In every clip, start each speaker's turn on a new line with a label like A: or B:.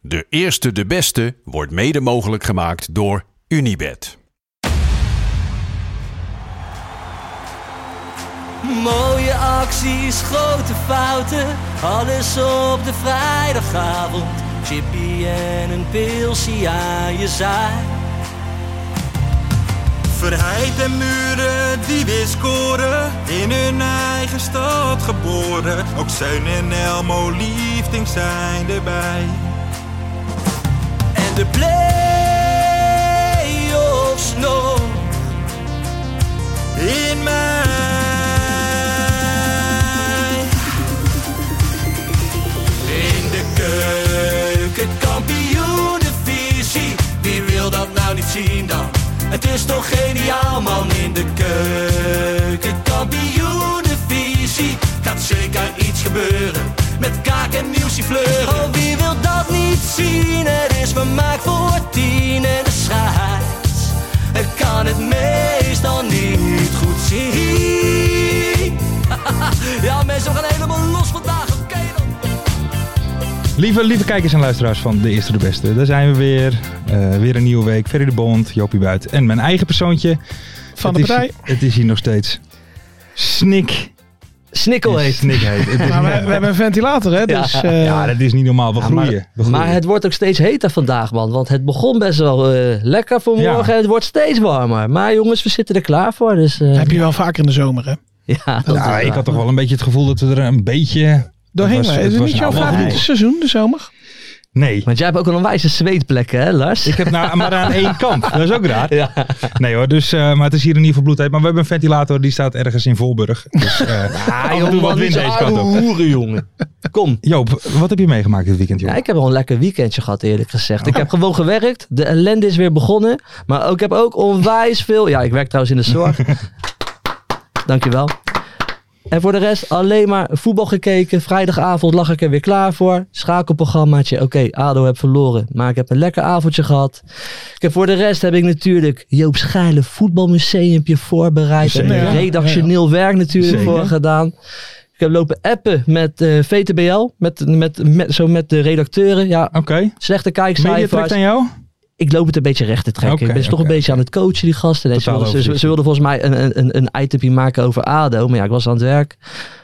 A: De eerste, de beste wordt mede mogelijk gemaakt door Unibed.
B: Mooie acties, grote fouten, alles op de vrijdagavond. Chippy en een pilsie aan je zaai.
C: Verheid en muren die weer scoren, in hun eigen stad geboren. Ook Zeun en Elmo liefding zijn erbij.
B: En de play-offs nog.
C: In mij.
B: In de keuken, kampioenenvisie. Wie wil dat nou niet zien dan? Het is toch geniaal man in de keuken, kampioenenvisie. Gaat zeker iets gebeuren met kaak en nieuwsie fleuren. Oh, wie wil dat niet zien? Het is vermaakt voor tien en de scheids. Ik kan het meestal niet goed zien. ja mensen, we gaan helemaal los vandaag, oké dan.
D: Lieve, lieve kijkers en luisteraars van De Eerste de Beste, daar zijn we weer. Eh, weer een nieuwe week. Ferry de Bond, Jopie Buit en mijn eigen persoontje.
E: Van de
D: het
E: partij.
D: Is, het is hier nog steeds snik.
F: Snikkel
D: en
F: heet.
D: Snik heet. Het is
E: Nou, we,
D: niet-
E: we hebben een ventilator, hè? Dus, eh,
D: ja, dat is niet normaal. We groeien.
F: Maar,
D: we groeien.
F: maar het wordt ook steeds heter vandaag, man. Want het begon best wel eh, lekker vanmorgen
D: Ja.
F: en het wordt steeds warmer. Maar jongens, we zitten er klaar voor. Dus, eh,
E: heb je wel vaker in de zomer, hè?
F: ja, dat
D: Nou,
F: is
D: ik
F: waar.
D: had toch wel een beetje het gevoel dat we er een beetje...
E: Doorheen.
D: Het was-
E: maar
D: het
E: Is het
D: was
E: niet jouw
D: nou wel
E: favoriete
D: goed.
E: seizoen, de zomer?
D: Nee.
F: Want jij hebt ook een wijze zweetplek, hè, Lars?
D: Ik heb nou, maar aan één kant. Dat is ook raar.
F: Ja.
D: Nee hoor, dus, eh, maar het is hier in ieder geval bloedheet. Maar we hebben een ventilator, die staat ergens in Volburg. Dus eh, af en toe
F: man,
D: wat
F: niet
D: wind
F: zo
D: deze
F: oude
D: kant op.
F: hoeren, jongen. Kom.
D: Joop, wat heb je meegemaakt dit weekend, joh?
F: Ja, ik heb wel een lekker weekendje gehad, eerlijk gezegd. Ik heb gewoon gewerkt. De ellende is weer begonnen. Maar ook- ik heb ook onwijs veel... Ja, ik werk trouwens in de zorg. Dankjewel. En voor de rest alleen maar voetbal gekeken. Vrijdagavond lag ik er weer klaar voor. Schakelprogrammaatje. Oké, ADO heb verloren. Maar ik heb een lekker avondje gehad. Ik heb voor de rest heb ik natuurlijk Joop Schijlen voetbalmuseumpje voorbereid. Ik heb
D: Zeker.
F: redactioneel werk natuurlijk
D: Zeker.
F: voor gedaan. Ik heb lopen appen met eh, VTBL, met, met, met, zo met de redacteuren. Ja,
D: Oké.
F: slechte
D: Media trekt
F: kijkcijfers.
D: aan jou?
F: Ik loop het een beetje recht te trekken.
D: Oké,
F: ik ben ze toch
D: oké,
F: een beetje aan het coachen, die gasten. Nee, ze,
D: Totaal
F: wilden, ze- ze,
D: overzicht.
F: ze wilden volgens mij een, een- een, een itempje maken over ADO. Maar ja, ik was aan het werk.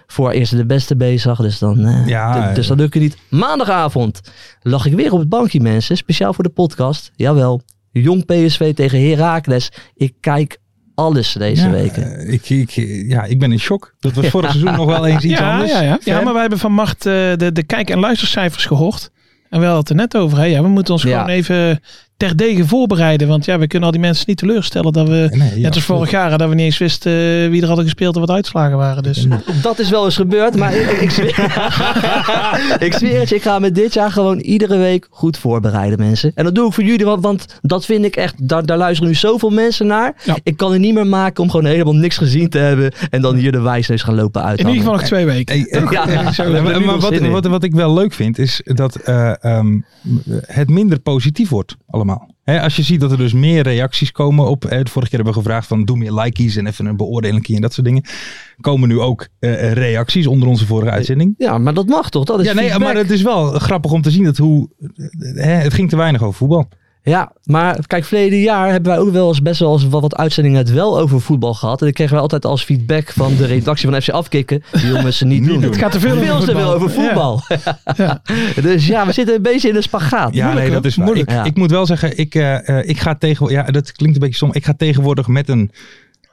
F: Voor eerst de beste bezig. Dus dan, eh,
D: Ja,
F: d- dus dat lukte niet. Maandagavond lag ik weer op het bankje, mensen. Speciaal voor de podcast. Jawel. Jong PSV tegen Heracles. Ik kijk alles deze
D: Ja,
F: weken.
D: eh, ik, ik, ja, ik ben in shock. Dat was vorig seizoen nog wel eens iets
E: ja,
D: anders.
E: ja, ja. ja,
D: Ver.
E: maar wij hebben van macht eh, de, de kijk- en luistercijfers gehoord. En we hadden het er net over. Hè? Ja, we moeten ons
F: Ja.
E: gewoon even terdege voorbereiden. Want ja, we kunnen al die mensen niet teleurstellen dat we...
D: Nee, ja,
E: net als vorig jaar, hè, dat we niet eens wisten eh, wie er hadden gespeeld en wat de uitslagen waren. Dus
F: Dat is wel eens gebeurd, maar ik, ik, zweer, ik zweer het je, ik ga me dit jaar gewoon iedere week goed voorbereiden, mensen. En dat doe ik voor jullie, want, want dat vind ik echt, daar, daar luisteren nu zoveel mensen naar.
E: Ja.
F: Ik kan het niet meer maken om gewoon helemaal niks gezien te hebben en dan hier de wijsneus gaan lopen uit.
E: in ieder geval nog twee weken.
D: Hey, eh,
F: Ja,
D: eh,
F: we
D: zo,
F: hebben er
D: maar-
F: nu
D: maar
F: wel
D: wat,
F: zin in.
D: wat, wat ik wel leuk vind, is dat eh, ehm, het minder positief wordt allemaal. Hè, als je ziet dat er dus meer reacties komen op... Hè, de vorige keer hebben we gevraagd van doe meer likejes en even een beoordeling en dat soort dingen. Komen nu ook eh, reacties onder onze vorige uitzending.
F: Ja, maar dat mag toch? Dat is
D: Ja, nee,
F: feedback.
D: maar het is wel grappig om te zien dat hoe... eh, Hè, het ging te weinig over voetbal.
F: Ja, maar kijk, verleden jaar hebben wij ook wel eens best wel eens wat, wat uitzendingen het wel over voetbal gehad. En dan kregen wij altijd als feedback van de redactie van FC Afkikken, die jongens ze niet, doen.
D: doen.
E: Het gaat te veel over
F: te veel
E: voetbal.
F: over voetbal.
E: Ja.
F: dus ja, we zitten een beetje in een spagaat.
D: Ja, nee,
E: hoor.
D: dat is waar. Ik,
F: Moeilijk. Ja.
D: ik moet wel zeggen, ik, eh, eh, ik ga tegenwoordig, ja, dat klinkt een beetje stom. Ik ga tegenwoordig met een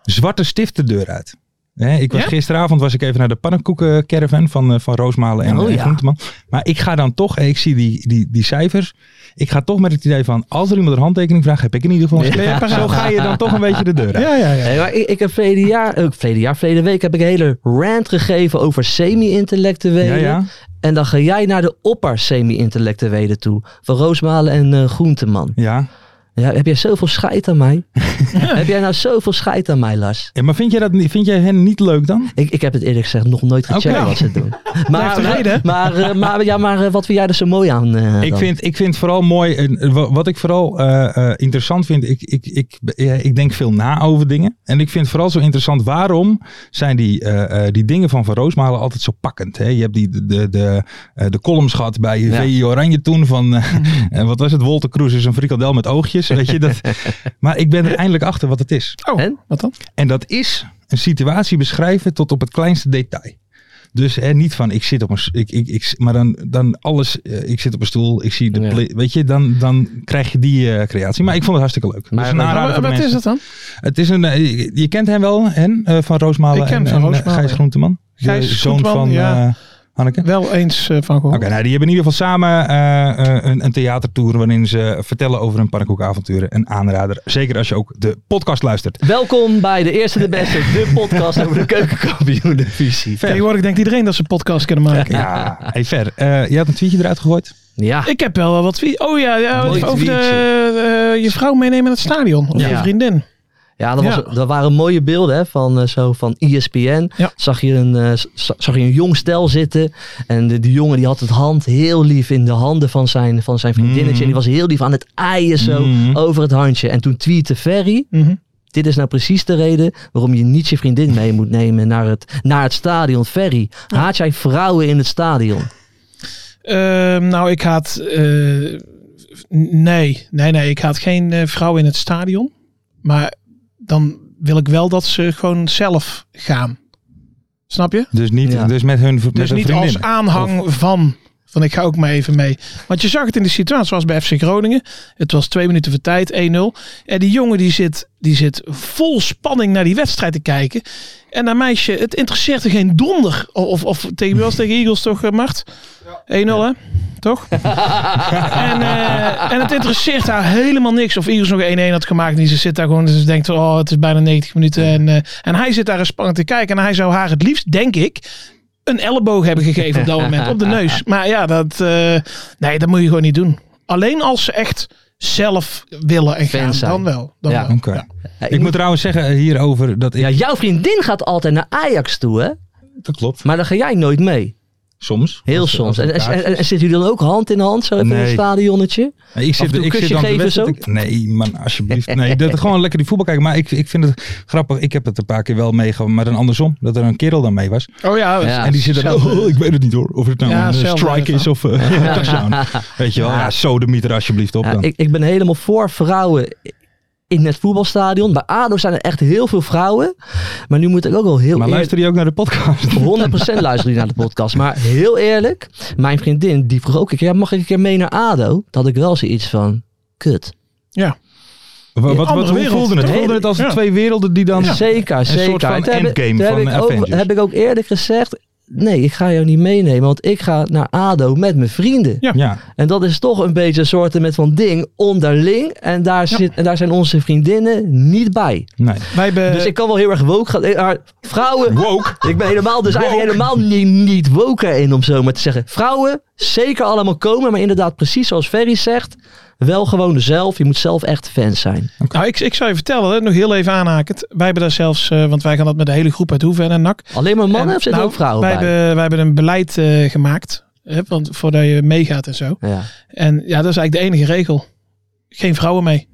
D: zwarte stift de deur uit. Hè, ik was
E: Ja?
D: Gisteravond was ik even naar de pannenkoekencaravan van, eh, van Roosmalen en,
F: Oh,
D: eh,
F: ja.
D: Groenteman. Maar ik ga dan toch, eh, ik zie die, die, die cijfers. Ik ga toch met het idee van, als er iemand een handtekening vraagt, heb ik in ieder geval een
E: Ja.
D: stuk. Zo ga je dan toch een beetje de deur uit.
E: Ja, ja, ja.
F: Nee, maar ik, ik heb verleden jaar, ook verleden jaar, verleden week heb ik een hele rant gegeven over semi-intellectuelen.
D: Ja, ja.
F: En dan ga jij naar de opper semi-intellectuelen toe. Van Roosmalen en eh, Groenteman.
D: ja.
F: Ja, heb jij zoveel scheid aan mij? heb jij nou zoveel scheid aan mij, Lars?
D: Ja, maar vind jij, dat, niet- vind jij hen niet leuk dan?
F: Ik, ik heb het eerlijk gezegd nog nooit gecheckt
D: Oké.
F: wat ze doen.
E: Blijft een reden.
F: Maar, eh, maar, ja, maar eh, wat vind jij er zo mooi aan? eh,
D: Ik
F: dan?
D: vind, ik vind vooral mooi, en wa- wat ik vooral eh, eh, interessant vind, ik, ik, ik, eh, ik denk veel na over dingen. En ik vind vooral zo interessant, waarom zijn die, eh, eh, die dingen van Van Roosmalen altijd zo pakkend? Hè? Je hebt die, de, de, de, eh, de columns gehad bij
F: Ja.
D: VI Oranje toen van, eh, eh, wat was het, Wolter Kroes is een frikandel met oogjes. Weet je, dat, maar ik ben er eindelijk achter wat het is.
E: Oh,
F: En?
E: wat dan?
D: En dat is een situatie beschrijven tot op het kleinste detail. Dus hè, niet van ik zit op een s- ik, ik, ik, maar dan, dan alles, eh, ik zit op een stoel, ik zie de
F: Ja.
D: play- weet je, dan, dan krijg je die eh, creatie. Maar ik vond het hartstikke leuk.
F: Maar-
D: Dus een
F: maar-
D: aanrader
E: Maar
D: voor de
E: wat is
D: mensen.
E: dat dan?
D: Het is een, eh, je- je kent hem wel, hen, eh, van Roosmalen
E: Ik ken
D: en,
E: Van
D: en, eh,
E: Roosmalen,
D: Gijs
E: ja.
D: Groenteman. De
E: Gijs
D: zoon
E: Groenteman,
D: van
E: ja.
D: eh, Hanneke.
E: Wel eens eh, van gehoord.
D: Oké, nou die hebben in ieder geval samen eh, eh, een, een theatertour waarin ze vertellen over hun pannenkoekavonturen. Een aanrader, zeker als je ook de podcast luistert.
F: Welkom bij de Eerste de Beste, de podcast over de keukenkampioen-divisie.
E: Tegenwoordig denkt iedereen dat ze een podcast kunnen maken.
D: Ja, hey Fer, eh, je had een tweetje eruit gegooid.
F: Ja,
E: Ik heb wel wat... wie- Oh ja, ja
F: Mooi
E: over de, eh, je vrouw meenemen naar het stadion. Of
F: Ja.
E: je vriendin.
F: ja, dat, was,
E: Ja.
F: dat waren mooie beelden hè, van, eh, zo, van ESPN.
E: Ja.
F: Zag, je een, eh, z- zag je een jong stel zitten. En de, die jongen die had het hand heel lief in de handen van zijn, van zijn vriendinnetje. En die was heel lief aan het aaien zo
D: Mhm.
F: over het handje. En toen tweette Ferry...
E: Mhm.
F: Dit is nou precies de reden waarom je niet je vriendin mee moet nemen naar het, naar het stadion. Ferry, haat jij vrouwen in het stadion?
E: Ehm, nou, ik haat. eh, nee, nee, nee. Ik haat geen eh, vrouw in het stadion. Maar dan wil ik wel dat ze gewoon zelf gaan. Snap je?
D: Dus, niet,
F: Ja.
D: dus met hun met
E: Dus
D: hun
E: niet
D: vriendin.
E: als aanhang van. Van ik ga ook maar even mee. Want je zag het in de situatie, zoals bij FC Groningen. Het was twee minuten voor tijd, 1-0. En die jongen die zit, die zit vol spanning naar die wedstrijd te kijken. En dat meisje, het interesseert er geen donder. Of, of tegen wie was het? tegen Eagles toch, eh, Mart? 1-0 hè? Toch? en, eh, en het interesseert haar helemaal niks of Iris nog een 1-1 had gemaakt. En ze zit daar gewoon en ze denkt, oh het is bijna 90 minuten. En, eh, en hij zit daar in spanning te kijken. En hij zou haar het liefst, denk ik, een elleboog hebben gegeven op dat moment. Op de neus. Maar ja, dat, eh, nee, dat moet je gewoon niet doen. Alleen als ze echt zelf willen en
F: Fan
E: gaan,
F: zijn.
E: dan wel. Dan
F: Ja.
E: wel.
D: Oké.
F: Ja,
D: Ik moet trouwens zeggen eh, hierover dat ik...
F: Ja, jouw vriendin gaat altijd naar Ajax toe, hè?
D: dat klopt.
F: Maar dan ga jij nooit mee.
D: Soms.
F: Heel
D: Als-
F: soms.
D: als
F: En,
D: een
F: en,
D: kaartje.
F: en, en zitten jullie dan ook hand in hand zo even in
D: Nee.
F: het stadionnetje?
D: ik
F: af en
D: zit,
F: toe
D: ik zit
F: kusje
D: dan te
F: geven
D: wedstrijd-
F: zo?
D: ik- Nee, man, alsjeblieft. Nee, dat, gewoon lekker die voetbal kijken. Maar ik, ik vind het grappig. Ik heb het een paar keer wel meegemaakt, maar dan andersom. Dat er een kerel dan mee was.
E: Oh ja,
F: Ja.
D: en die zit dan...
E: hetzelfde.
D: Oh, ik weet het niet hoor. Of het nou
E: Ja,
D: een eh,
E: hetzelfde
D: strike is of eh, een touchdown. Weet je wel. Ja, sodemiet er alsjeblieft op
F: Ja,
D: dan.
F: ik, ik ben helemaal voor vrouwen in het voetbalstadion. Bij ADO zijn er echt heel veel vrouwen. Maar nu moet ik ook wel heel
D: Maar
F: eerlijk...
D: luister je ook naar de podcast?
F: 100% luisteren jullie naar de podcast. Maar heel eerlijk, mijn vriendin die vroeg ook een keer... Ja, mag ik een keer mee naar ADO? Dat had ik wel zoiets van... Kut.
E: Ja.
D: Wat, wat,
E: Andere
D: hoe
E: wereld.
D: voelde het?
E: Nee,
D: Voelde het als de
E: ja.
D: twee werelden die dan...
F: Zeker, zeker.
D: soort van
F: En toen heb ik-
D: endgame
F: toen heb
D: van
F: ik ook-
D: Avengers.
F: heb ik ook eerlijk gezegd... Nee, ik ga jou niet meenemen, want ik ga naar ADO met mijn vrienden.
D: Ja.
F: En dat is toch een beetje een soort met van ding onderling. En daar, zit, en daar zijn onze vriendinnen niet bij.
D: Nee.
E: Wij hebben,
F: dus ik kan wel heel erg woke gaan. eh, maar Vrouwen.
D: Woke.
F: Ik ben helemaal, dus eigenlijk helemaal niet, niet woke erin om zo maar te zeggen. Vrouwen, zeker allemaal komen. Maar inderdaad, precies zoals Ferry zegt. Wel gewoon zelf. Je moet zelf echt fan zijn.
E: nou, ik, ik zou je vertellen, hè, nog heel even aanhakend. Wij hebben daar zelfs, eh, want wij gaan dat met de hele groep uit Hoeven en NAC.
F: Alleen maar mannen
E: En,
F: of zitten
E: nou,
F: ook vrouwen
E: wij
F: bij?
E: Hebben, wij hebben een beleid eh, gemaakt. Hè, want voordat je meegaat en zo.
F: Ja.
E: En ja, dat is eigenlijk de enige regel. Geen vrouwen mee.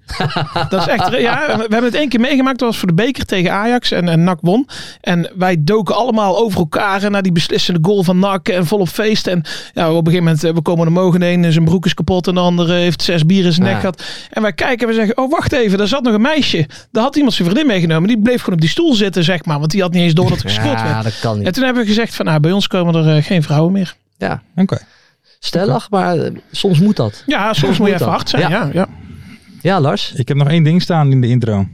E: dat is echt. Ja, we hebben het één keer meegemaakt. Dat was voor de beker tegen Ajax en, en NAC won. En wij doken allemaal over elkaar en naar die beslissende goal van NAC en volop feest. En ja, op een gegeven moment, eh, we komen er mogen heen. en Zijn broek is kapot en de andere heeft zes bieren in zijn nek
F: Ja.
E: gehad. En wij kijken en we zeggen, oh wacht even, daar zat nog een meisje. Daar had iemand zijn vriendin meegenomen. Die bleef gewoon op die stoel zitten, zeg maar. Want die had niet eens door dat er gescoord werd.
F: ja, dat kan
E: En
F: niet.
E: toen hebben we gezegd van, nou, bij ons komen er eh, geen vrouwen meer.
F: Ja.
D: Oké.
F: Stellig, maar eh, soms moet dat.
E: Ja, soms moet je
F: Moet
E: even
F: dat.
E: hard zijn.
F: Ja.
E: Ja. Ja,
F: Ja, Lars?
D: Ik heb nog één ding staan in de intro.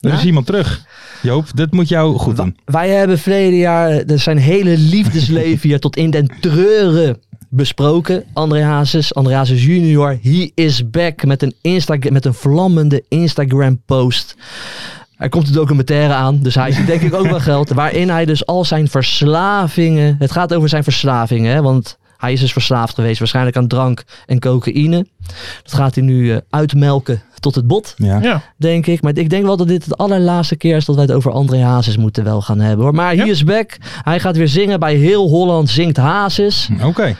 D: Er is
F: Ja?
D: iemand terug. Joop, dit moet jou goed doen.
F: Wij hebben verleden jaar eh, zijn hele liefdesleven hier tot in den treuren besproken. André Hazes, André Hazes junior, he is back met een, Insta met een vlammende Instagram post. Er komt een documentaire aan, dus hij ziet denk ik ook wel geld. Waarin hij dus al zijn verslavingen, het gaat over zijn verslavingen, hè, want hij is dus verslaafd geweest. Waarschijnlijk aan drank en cocaïne. Dat gaat hij nu eh, uitmelken tot het bot
D: Ja.
E: Ja,
F: denk ik. Maar ik denk wel dat dit de allerlaatste keer is dat wij het over André Hazes moeten wel gaan hebben. Hoor. Maar
E: Ja.
F: hier is back. Hij gaat weer zingen bij Heel Holland Zingt Hazes. Wat,
D: Oké.
E: dat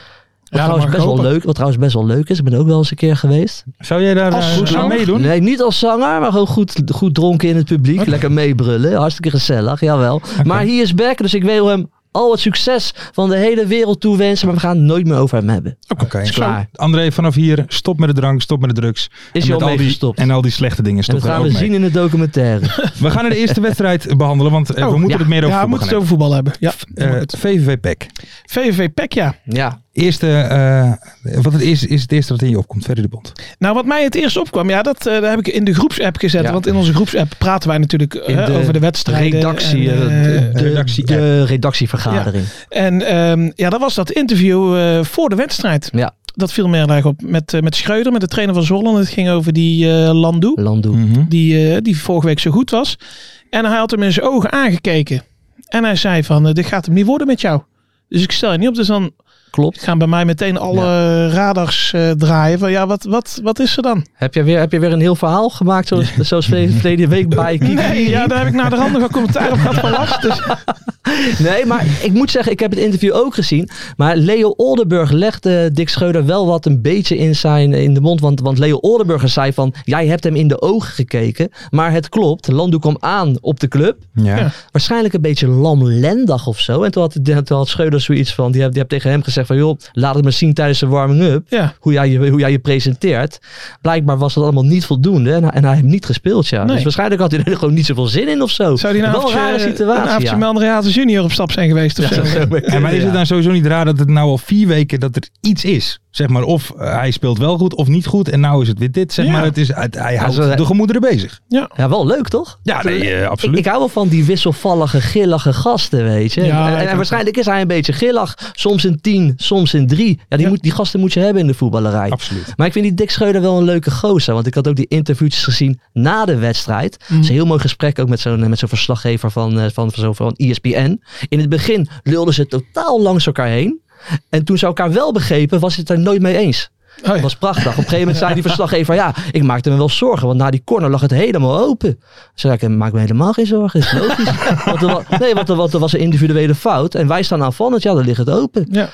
E: mag
F: trouwens
E: ik
F: best wel
E: hopen.
F: leuk, wat trouwens best wel leuk is. Ik ben ook wel eens een keer geweest.
D: Zou jij daar
E: Als
D: eh,
E: goed
D: aan
E: zanger?
D: meedoen?
F: Nee, niet als zanger, maar gewoon goed, goed dronken in het publiek. Lekker meebrullen. Hartstikke gezellig, jawel. Maar hier is back, dus ik wil hem al het succes van de hele wereld toewensen. Maar we gaan het nooit meer over hem hebben.
D: Oké.
F: klaar.
D: André, vanaf hier, stop met de drank, stop met de drugs.
F: Is
D: En
F: hij
D: met
F: al mee
D: die-
F: gestopt?
D: En al die slechte dingen,
F: En
D: stop
F: dat
D: er
F: gaan
D: ook
F: we
D: mee.
F: zien in de documentaire.
D: We gaan de eerste wedstrijd behandelen, want eh, we
E: Oh,
D: moeten
F: ja.
D: het meer over
E: ja we
D: voetbal
E: moeten
D: gaan
E: het over voetbal hebben. Ja.
D: hebben. Eh, VVV PEC.
E: VVV Pek, E ja.
F: ja,
D: Eerste, eh, wat het is, is het eerste wat in je opkomt, verder de bond.
E: Nou, wat mij het eerst opkwam, ja, dat eh, daar heb ik in de groepsapp gezet.
F: Ja.
E: Want in onze groepsapp praten wij natuurlijk eh,
F: In de
E: over de wedstrijden.
F: redactie,
E: en,
F: eh,
E: eh,
F: de,
D: redactie-app.
F: de redactievergadering.
E: En ehm, ja, dat was dat interview eh, voor de wedstrijd.
F: Ja.
E: Dat viel me heel erg op. Met, eh, met Schreuder, met de trainer van Zwolle. En Het ging over die eh Landoe,
F: Landoe.
D: Mm. Mhm.
E: die, eh, die vorige week zo goed was. En hij had hem in zijn ogen aangekeken. En hij zei van, eh, dit gaat hem niet worden met jou. Dus ik stel je niet op. Dus dan
F: Klopt.
E: gaan bij mij meteen alle radars eh, draaien. Van ja, wat, wat, wat is er dan?
F: Heb jij weer, heb jij weer een heel verhaal gemaakt zoals, zoals verleden verleden week bij Kiki?
E: Nee, ja, daar heb ik naar de nog wel commentaar op gehad van last. Dus
F: Nee, maar ik moet zeggen, ik heb het interview ook gezien. Maar Leo Oldenburg legde Dick Scheuder wel wat een beetje in, zijn, in de mond. Want, want Leo Oldenburg zei van, jij hebt hem in de ogen gekeken. Maar het klopt, Landoe kwam aan op de club.
D: Ja.
E: Ja.
F: Waarschijnlijk een beetje lamlendig of zo. En toen had, toen had Scheuder zoiets van, die heb, die heb tegen hem gezegd van... joh, laat het maar zien tijdens de warming-up.
E: ja,
F: hoe jij, je, hoe jij je presenteert. Blijkbaar was dat allemaal niet voldoende en, hij- en hij heeft niet gespeeld. Ja.
E: Nee.
F: Dus waarschijnlijk had hij er gewoon niet zoveel zin in of zo.
E: zou die nou een
F: Wel
E: avondje,
F: een rare
E: een
F: situatie.
E: avondje
F: ja.
E: met André Hazes junior op stap zijn geweest of
F: Ja,
E: zo.
F: dat zou maar
D: En maar
F: kunnen,
D: is het
F: ja.
D: dan sowieso niet raar dat het nou al vier weken dat er iets is? Zeg maar, of eh, hij speelt wel goed of niet goed en nou is het weer dit. Zeg
E: Ja.
D: maar, het is, het- hij houdt
F: zo-
D: de gemoederen bezig.
F: Ja, wel leuk toch?
D: Ja, nee, eh,
F: Ik,
D: absoluut.
F: ik hou wel van die wisselvallige, gillige gasten, weet je.
E: Ja,
F: en,
E: ik
F: en,
E: ook.
F: waarschijnlijk is hij een beetje gillig. Soms een tien, soms een drie. Ja, die,
E: Ja.
F: Moet, die gasten moet je hebben in de voetballerij.
D: absoluut.
F: Maar ik vind die Dick Scheuder wel een leuke gozer. Want ik had ook die interviewtjes gezien na de wedstrijd. Het
E: Mhm.
F: is een heel mooi gesprek ook met zo'n eh, met zo'n verslaggever van, eh, van, van, zo- van ESPN. In het begin lulden ze totaal langs elkaar heen. En toen ze elkaar wel begrepen, was het er nooit mee eens.
E: Oh ja.
F: Dat was prachtig. Op een gegeven moment zei die verslaggever, ja, ik maakte me wel zorgen. Want na die corner lag het helemaal open. Ze zei, ik maak me helemaal geen zorgen. Is logisch. want er wa- nee, want er, want er was een individuele fout. En wij staan aanvallend, ja, dan ligt het open.
E: Ja.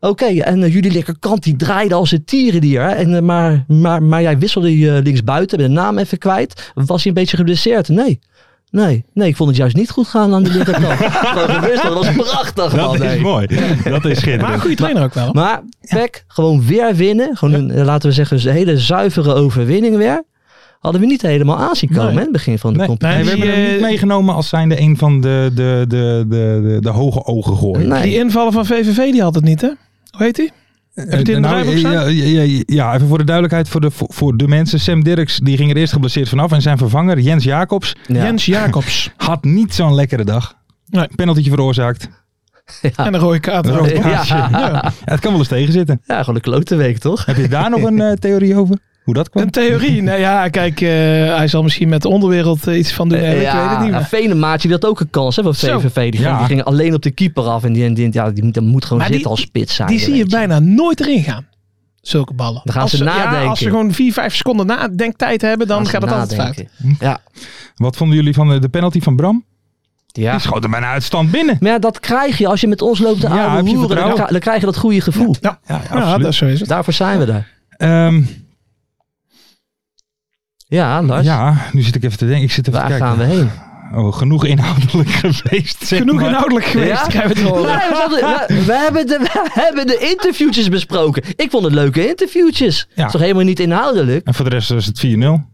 F: Oké, en eh, jullie linkerkant die draaide als een tierendier. Hè? En, eh, maar, maar, maar jij wisselde je linksbuiten, ben de naam even kwijt. Was hij een beetje geblesseerd? Nee. Nee, nee, ik vond het juist niet goed gaan aan de linkerkant. Gewoon gewisseld, dat was prachtig. man,
D: Dat
F: hey.
D: is mooi. Dat is
E: Maar een
D: schitterend.
E: goede trainer ook wel. hoor.
F: Maar Peck, gewoon weer winnen. Gewoon een, eh, laten we zeggen, een hele zuivere overwinning weer. Hadden we niet helemaal aan zien komen
E: Nee.
F: hè, in het begin van de
D: Nee,
F: competitie.
D: nee, we
E: die,
D: hebben hem
E: eh,
D: niet meegenomen als zijnde een van de, de, de, de, de, de hoge ogen gooien.
F: Nee.
E: Die invallen van VVV die had het niet, hè? Hoe heet die? Heb je het in de
D: Nou,
E: draaiboek staan?
D: ja, ja, ja, ja, even voor de duidelijkheid voor de, voor, voor de mensen. Sam Dirks die ging er eerst geblesseerd vanaf. En zijn vervanger, Jens Jacobs,
F: Ja.
E: Jens Jacobs.
D: had niet zo'n lekkere dag.
E: Nee.
D: Penaltytje veroorzaakt.
F: Ah.
E: En de rode kaart.
D: Een rood kaartje.
F: Ja.
D: Ja, het kan wel eens tegenzitten.
F: ja, gewoon een klote week, toch?
D: Heb je daar nog een eh, theorie over? Hoe dat kwam?
E: Een theorie. Nou ja, kijk, eh, hij zal misschien met de onderwereld eh, iets van doen. hebben. Ik weet het niet
F: ja,
E: meer.
F: Venemaatje die had ook een kans hè, van
E: Zo.
F: VVV. Die, ging,
D: Ja.
F: die ging alleen op de keeper af. En die, die, ja, die, moet- dat moet gewoon
E: Maar die-
F: zitten als spits zijn.
E: Die zie je
F: weet
E: bijna nooit erin gaan. Zulke ballen.
F: Dan gaan
E: als Ja,
F: ze nadenken.
E: als ze gewoon vier, vijf seconden nadenktijd hebben, dan
F: Als
E: gaat het altijd fout.
F: nadenken. Ja.
D: Wat vonden jullie van eh, de penalty van Bram?
F: ja.
D: Die schoot hem bijna uit stand binnen.
F: Dus- Maar ja, dat krijg je als je met ons loopt te
D: Ja, heb
F: oude
D: je
F: hoeren. Dan,
D: vertrouwen.
F: kra- dan krijg je dat goede gevoel. Dus
E: Ja,
D: Ja,
E: ja dat, zo is het.
F: Daarvoor zijn we daar.
D: ehm,
F: Ja, Lars.
D: ja, nu zit ik even te denken. Ik zit even
F: Waar
D: te
F: gaan we
D: kijken.
F: heen?
D: Oh, genoeg inhoudelijk geweest. Zeg
E: Genoeg
D: maar.
E: inhoudelijk geweest.
F: Ja?
E: krijgen we het
F: Nee,
E: horen.
F: we, zaten- we- we hebben de, we hebben de interviewtjes besproken. Ik vond het leuke interviewtjes.
D: Ja.
F: Is toch helemaal niet inhoudelijk?
D: En voor de rest was het 4-0.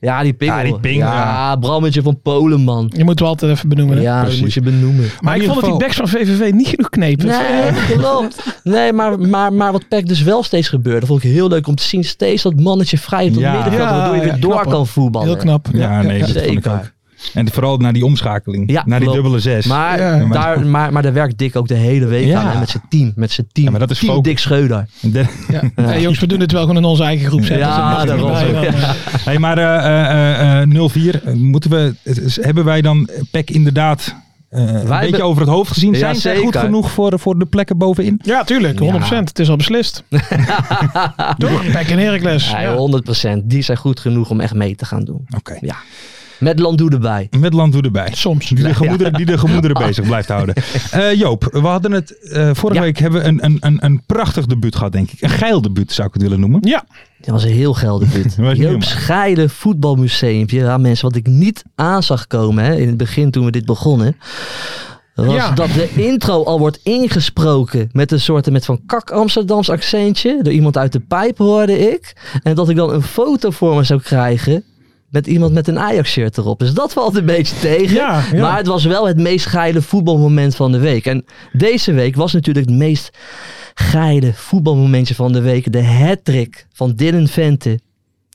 F: Ja, die pingel.
D: Ja, die pingel, ja.
F: Brammetje van Polen, man.
E: Je moet wel altijd even benoemen. hè?
F: Ja, dat
D: Precies.
F: moet je benoemen.
E: Maar
D: in
E: ik
D: ieder
E: vond dat die
D: geval-
E: backs van VVV niet genoeg knepen.
F: Nee, klopt. Dus, eh, Nee, maar, maar, maar wat Peck dus wel steeds gebeurde, vond ik heel leuk om te zien. Steeds dat mannetje vrij op het
D: Ja.
F: middenveld,
E: Ja,
F: waardoor je weer
E: ja,
F: door
E: knap, hoor.
F: kan voetballen.
E: Heel knap.
D: Ja, nee, dat vond ik
F: Zeker.
D: ook. En vooral naar die omschakeling.
F: Ja,
D: naar die
F: klopt.
D: dubbele zes.
F: Maar,
E: Ja.
F: daar, maar, maar daar werkt Dick ook de hele week
D: Ja.
F: aan. Hè? Met zijn team. Met zijn team.
D: Ja, maar dat is
F: team
D: focus.
F: Dick Scheuder.
D: De-
E: Ja. Hey, jongens, we doen het wel gewoon in onze eigen groep. zetten.
F: Ja,
E: Dus dat mag
F: daarom.
E: niet bij, dan, eh.
D: hey, maar eh, eh, eh, eh, 0-4. eh, Moeten we, het is- hebben wij dan PEC inderdaad eh, een
F: hebben-
D: beetje over het hoofd gezien?
F: Ja,
D: Zijn zij goed
F: zeker.
D: genoeg voor, voor de plekken bovenin?
E: Ja, tuurlijk. 100%. Het is al beslist. Toch? Pek en Heracles.
F: Ja,
E: Ja.
F: 100%. Die zijn goed genoeg om echt mee te gaan doen.
D: Oké.
F: Ja. Met Landoe erbij.
D: Met Landdoe erbij.
E: Soms.
D: Die de gemoederen, die de gemoederen bezig blijft houden. Eh, Joop, we hadden het eh, vorige
F: Ja.
D: week hebben we een, een, een, een prachtig debuut gehad, denk ik. Een geil debuut zou ik het willen noemen.
E: Ja,
F: Dat was een heel geil debuut.
D: was niet
F: Joop
D: normaal.
F: Scheide voetbalmuseumpje. Ja, mensen, wat ik niet aan zag komen hè, in het begin toen we dit begonnen. Was
E: Ja.
F: dat de intro al wordt ingesproken met een soort met van kak Amsterdams accentje. Door iemand uit de pijp hoorde ik. En dat ik dan een foto voor me zou krijgen. Met iemand met een Ajax-shirt erop. Dus dat valt een beetje tegen.
E: Ja, ja.
F: Maar het was wel het meest geile voetbalmoment van de week. En deze week was natuurlijk het meest geile voetbalmomentje van de week. De hat-trick van Dylan Vente